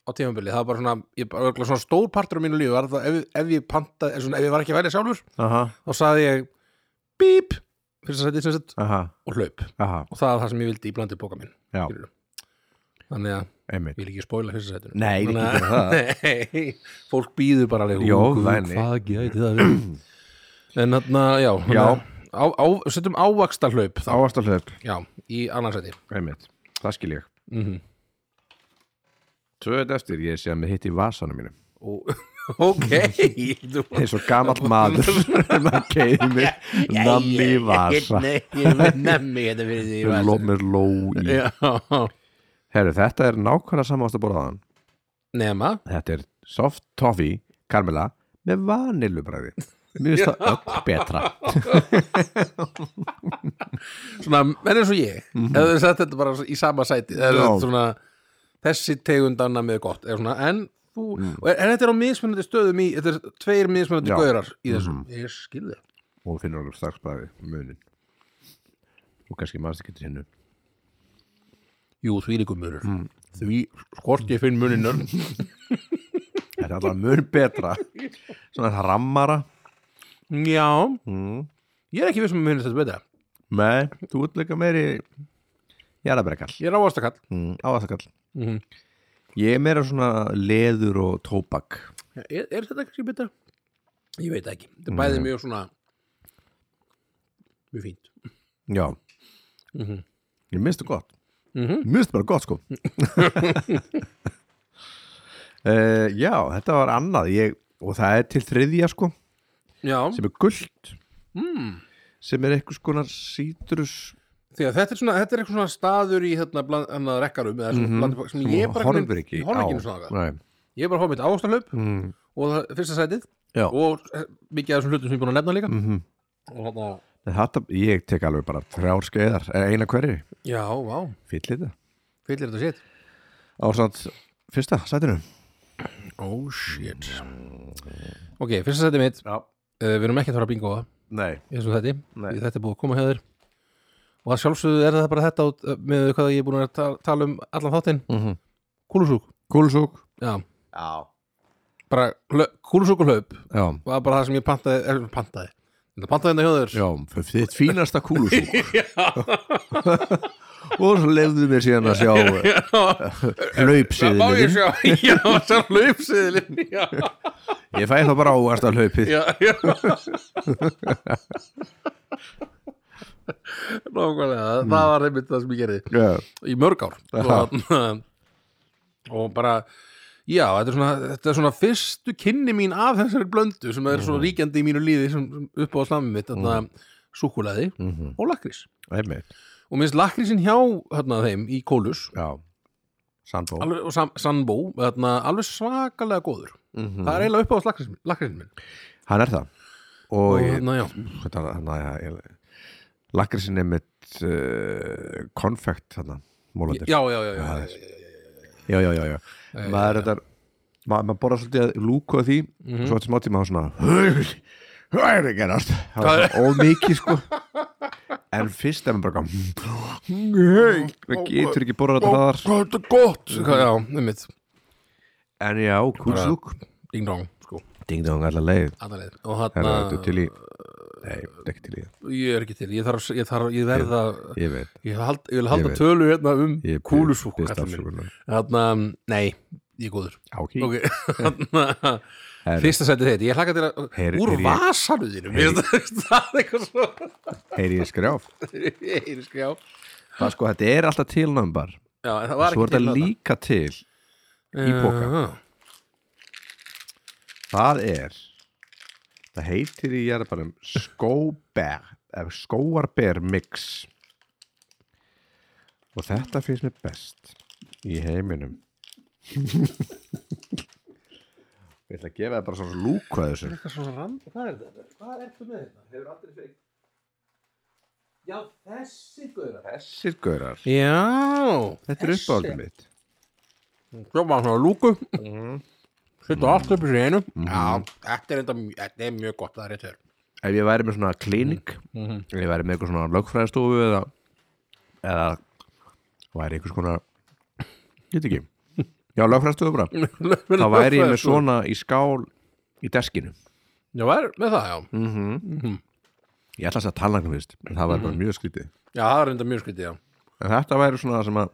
B: á tímabili, það var bara svona, ég, bara, örugglega svona stór partur á mínu lífi, var það ef, ef ég pantaði, eða svona, ef ég var ekki að velja sjálfur
A: aha,
B: þá saði ég bíp fyrsta setið sem sett
A: aha,
B: og hlaup
A: aha,
B: og það er það sem ég vildi í blandi bóka minn
A: já,
B: Skilurðu. þannig að
A: einmitt
B: ég vil ekki spóla fyrsta setinu
A: Nei, við
B: Þannig
A: ekki gera það.
B: Nei, fólk býður bara alveg
A: Jó,
B: "Ú, guð,
A: væni."
B: hvað gæti það verið en þarna, já,
A: Já.
B: þannig að Á, á, setjum ávaxta hlaup þá,
A: ávastahlaup,
B: já, í annarsæti
A: einmitt, það skil ég
B: mm -hmm.
A: tvö þetta eftir, ég sé að mér hitti í vasanum mínum
B: ok þú
A: eins og gamall maður sem að keiði mig nammi í vasa
B: Nemmi hérna fyrir því
A: Mér ló- mér ló
B: Eh.
A: í
B: Já,
A: Herru, þetta er nákvæmlega sama ást að borða þann
B: nema
A: Þetta er soft toffee, karmela með vanilubræði Mér finnst það öll betra
B: Svona, menn eins og ég Eða þess að þetta bara í sama sæti Það er
A: Já.
B: svona, Þessi tegund annar með gott eða svona, En þú, og er, er þetta er á mismunandi stöðum í Þetta er tveir mismunandi
A: Já.
B: gaurar í þessum Ég skil þér
A: og finnur alveg strax bæði munin og kannski maður ekki til hennu
B: Jú, því líkum munur Því skort ég finn um. muninur
A: Þetta er alltaf mun betra svona það rammara
B: Já,
A: mm.
B: ég er ekki viss um að munir þetta betra
A: Nei, þú ert líka meiri jarðabrekall
B: Ég er á ástakall
A: mm. ávatakall
B: Mhm.
A: Ég er meira svona leður og tóbak
B: er, er þetta kannski betra? Mm. Ég veit það ekki, þetta er bæði mjög svona Mjög fínt
A: Já
B: Mhm.
A: Ég minnst það gott
B: Mhm.
A: Mér finnst það bara gott sko uh, Já, þetta var annað ég, og það er til þriðja sko
B: Já,
A: sem er gult mm. sem er einhvers konar sítrus
B: því að þetta er svona, þetta er eitthvað svona staður í hérna, bland, hérna rekkarum eða svona mm sem
A: sem
B: ég bara
A: Mhm. horfir ekki
B: ég horfir ekki
A: á.
B: einu svona þangað.
A: Nei.
B: ég er bara horfir mitt ástarlaup mm. og það, fyrsta sætið
A: Já. Mhm.
B: og eh, mikið af þessum hlutum sem ég er búin að nefna líka mm -hmm. og þarna,
A: En Þetta, ég tek alveg bara þrjár skeiðar eh, eina hverri,
B: já, vá,
A: fýll þetta
B: fyllir þetta sétt
A: Ásand, fyrsta, sætinu
B: oh shit ok, fyrsta sætið mitt
A: Já,
B: uh, við erum ekki að fara að bingoa
A: nei
B: í þessum sæti,
A: Nei.
B: Því þetta er búið að koma hjá þér og að sjálfsögðu er það bara þetta út, eh, með hvað ég er búin að ta- tala um allan þáttinn,
A: mm -hmm.
B: kúlusúk
A: Kúlusúk
B: já,
A: Já,
B: bara hlau- kúlusúk og hlaup
A: já,
B: var bara það sem ég pantaði, er, pantaði. Þetta pantaði hérna hjá þér
A: já f- þitt fínasta kúlusúk Og svo lefðu mér síðan að sjá eh,
B: Það má ég
A: hlaupsiðin
B: sjá, já, sjá hlaupsiðlinn Já,
A: Ég fæ þá bara ávast að hlaupið
B: já, já Nókvæmlega, það var einmitt það sem ég gerði
A: Já,
B: í mörg ár
A: Aha.
B: og, og bara já, þetta er, svona, þetta er svona fyrstu kynni mín af þessari blöndu sem er svona ríkjandi í mínu líði sem, sem upp á slammi mitt þarna súkulaði og lakrís
A: einmitt
B: og minnst lakrísin hjá þarna, þeim í Kólus
A: Já, sandbó
B: alveg, og sam, Sandbó, þarna, alveg svakalega góður
A: Mhm.
B: það er eiginlega upp á lakrísin minn
A: Hann er það Og,
B: og
A: ég,
B: þarna, já,
A: þetta, hann, hann, hann, Lakrisin er mitt uh, konfekt þarna, mólandir
B: já, já, já, já, já,
A: það er- já, já, já, já. Mhm. maður er þetta maður, maður borðar svolítið að lúka því mm -hmm. svo eftir smá tíma þá svona hvað er að gerast það var svona ómikið sko en fyrst er maður bara eitthvað, maður getur ekki borðað þetta hraðar
B: Hvað er þetta gott? Hvað, já, einmitt,
A: en já, kúlsúk
B: ding dong sko,
A: ding dong allar leið
B: alla leið. og
A: Herra, þetta er
B: hann
A: til í Nei, þetta er ekki til í það
B: ég er ekki til, ég þarf, ég þarf, ég verða
A: Ég veit,
B: ég, hald, ég vil halda
A: veit.
B: tölu hérna um
A: ég
B: kúlusúk
A: byrst
B: kallinn minn.
A: afsökunar
B: Þarna, nei, ég er góður
A: Ok,
B: ok, þarna Fyrsta setið þetta, ég hlaka til að
A: Heyri-
B: úr
A: heyri-
B: vasanu þínu, mér finnst það það er eitthvað svo
A: heyri ég skrjáf
B: ég er skjá Já,
A: Það sko, þetta er alltaf til námbar
B: en það var
A: Svo
B: ekki
A: er þetta líka til í poka.
B: Já.
A: Það er Það heitir í jarðabarum skóber eða skóarber mix og þetta finnst mér best í heiminum Ég ætla að gefa það bara svona lúku að þessu
B: Eitthvað svona rand, hvað er þetta? Hvað er þetta með þetta? Hefur aldrei feikt Já, þessi guðra
A: Þessir gaurar,
B: Já
A: þetta er uppáldum mitt
B: Sjóma svona lúku Sittu allt upp í sig einu Mhm. Já, þetta er enda, þetta er mjög gott, það er rétt hér
A: ef ég væri með svona klinik ef ég væri með eitthvað svona lögfræðstofu eða, eða væri einhvers konar ég veit ekki já, lögfræðstofu bara þá
B: um
A: væri ég með svona í skál í deskinu
B: Já, væri með það, já
A: ég ætla að segja tannlæknum fyrst en það væri
B: Mhm.
A: bara mjög skrítið
B: Já, það er enda mjög skytið, já
A: en þetta væri svona það sem að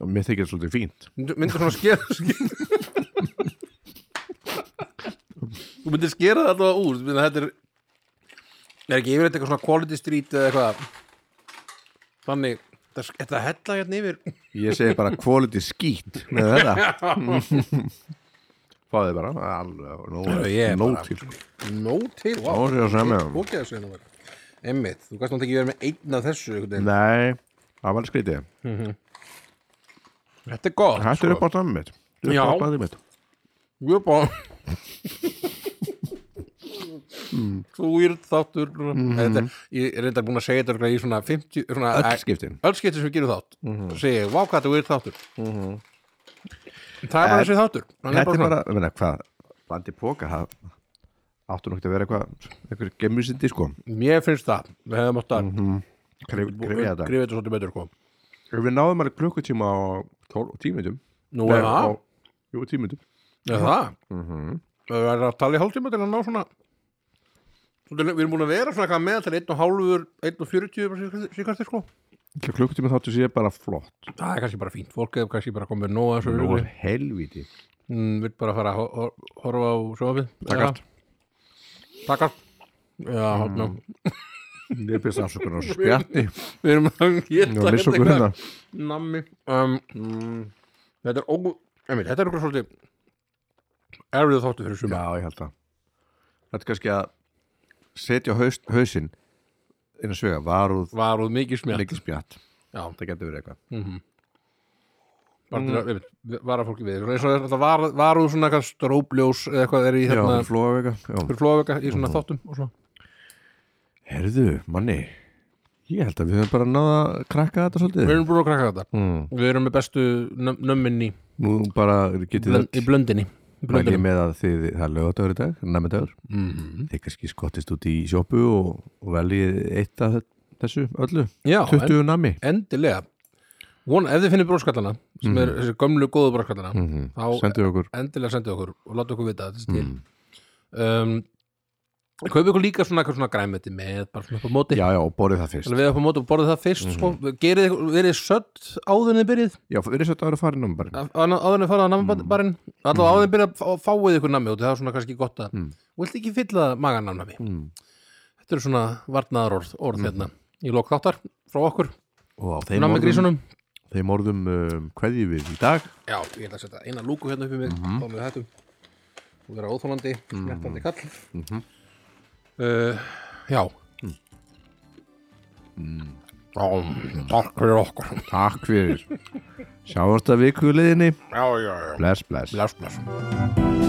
A: og mér þykir þetta svolítið fínt
B: Myndu- myndir svona skera, skera. þú myndir skera það allavega úr þú myndir þetta er er ekki yfirleitt eitthvað svona quality street eða eitthvað þannig þetta er- þetta er hella hérna yfir
A: ég segi bara quality skít með þetta fáðið bara alveg
B: Herru, ég er
A: nóg- nóg
B: bara-
A: til
B: no til,
A: Ó,
B: wow
A: ég er að segja með það.
B: bókjaði þessu hérna bara. Einmitt, þú gæst náttúrulega ekki verið með einn af þessu einhvern veginn.
A: nei, það var skrítið
B: þetta er gott
A: þetta er upp á dæmið mitt Þetta er
B: Sko- Já.
A: uppáhaldið mitt.
B: Ég er bara
A: Hmm.
B: Svo weird þáttur þetta, Ég er reyndar búin að segja þetta örugglega í svona 50 svona,
A: Mhm. Öll skiptin.
B: Öll skiptin sem við gerum þátt
A: Mhm.
B: mm -hmm. Segja, vá hvað þetta er weird þáttur Það er bara
A: En-
B: þessi þáttur Hann
A: Þetta er
B: svona-
A: bara, ég meina, hvað, blandi póka, það áttu nokt að vera eitthvað, eitthvað gemmusindi, sko.
B: Mér finnst það Við hefðum átt að
A: Grif, grifja Mhm, þetta.
B: grifja þetta svolítið betur kom.
A: Grif. Við náðum alveg klukkutíma á tól, tímindum.
B: Nú er það
A: Jú, tímindum.
B: Er það
A: Mhm.
B: Það er að tala í hálftíma til að ná svona Svolítið, Við erum búin að vera svona eitthvað með þetta 1,5, 1,40 síkastir sko
A: Ekki klukkutíma þáttu sé bara flott.
B: Það er kannski bara fínt, fólk hefur kannski bara komið nóg að þessu
A: Nú
B: rugli.
A: er helviti.
B: Mm, vill bara fara að hor- hor- horfa á sjófið
A: Takkart.
B: Takkart Já,
A: Mhm.
B: mm.
A: Ég byrst afsökunar á þessu spjarni.
B: við erum að
A: Nú
B: geta
A: er lissokur hérna.
B: Nammi um, Þetta er ó einmitt, Þetta er okkur svolítið erfið þáttu fyrir suma
A: Já, ég held það. Þetta er kannski að setja haust, hausinn inn að svega varúð,
B: Var úr mikið smjart
A: mikið spjart.
B: Já,
A: Það getur verið eitthvað.
B: bara
A: Mm.
B: til að einmitt, vara fólki við Svona eins og þetta var, var úr svona eitthvað strópljós eða eitthvað er í
A: Já, Mm.
B: hérna
A: flóa eitthvað. Já.
B: fyrir flóðveka í svona þáttum og svona
A: Herðu, manni Ég held að við höfum bara náða að krakka þetta
B: Við
A: svolítið
B: erum búin að krakka þetta
A: mm.
B: Við erum með bestu nöm- nömmin í,
A: Nú bara getið
B: blönd, í
A: þetta
B: blöndinni
A: Mæli
B: Blöndinni
A: ég með að þið, það er lögadagur í dag, næmidagur mm. Þið kannski skottist út í sjoppu og, og veljið eitt af þessu öllu
B: Já, en-
A: 20 nami
B: endilega Von, ef þið finnir bróskallana
A: Mm.
B: sem er þessi gömlu góðu bróskallana
A: Mhm.
B: þá
A: Sendu okkur
B: endilega sendið okkur og láta okkur vita að þetta stil mm. um, kaupið okkur líka svona, eitthvað svona græmeti með bara svona upp á móti
A: Já, já, og borðið það fyrst
B: Þannig að við upp á móti og borðið það fyrst sko, gerið, ykkur- verið sött áður en þið byrjið
A: Já, við erum svolítið að vera farin um bara
B: á- á- áður en þið farað á nammabarinn allavega áður en þið byrjið að fá- fáið ykkur nammi og það er svona kannski gott að mm. vilt ekki fylla magan af nammi
A: Mm.
B: þetta eru svona varnaðarorð orð hérna í lok þáttar frá okkur
A: Og á þeim
B: nammi
A: orðum,
B: grísunum
A: þeim orðum um, hverjum við í dag
B: Já, ég ætla að setja eina lúku hérna upp í mig mm -hmm. þá með hættum og vera óþólandi, snertandi kall Mhm. uh, Já Mm. Já, takk fyrir okkur
A: Takk fyrir Sjáumst að viku liðinni
B: Já, já, já
A: Bless, bless
B: Bless, bless
A: Takk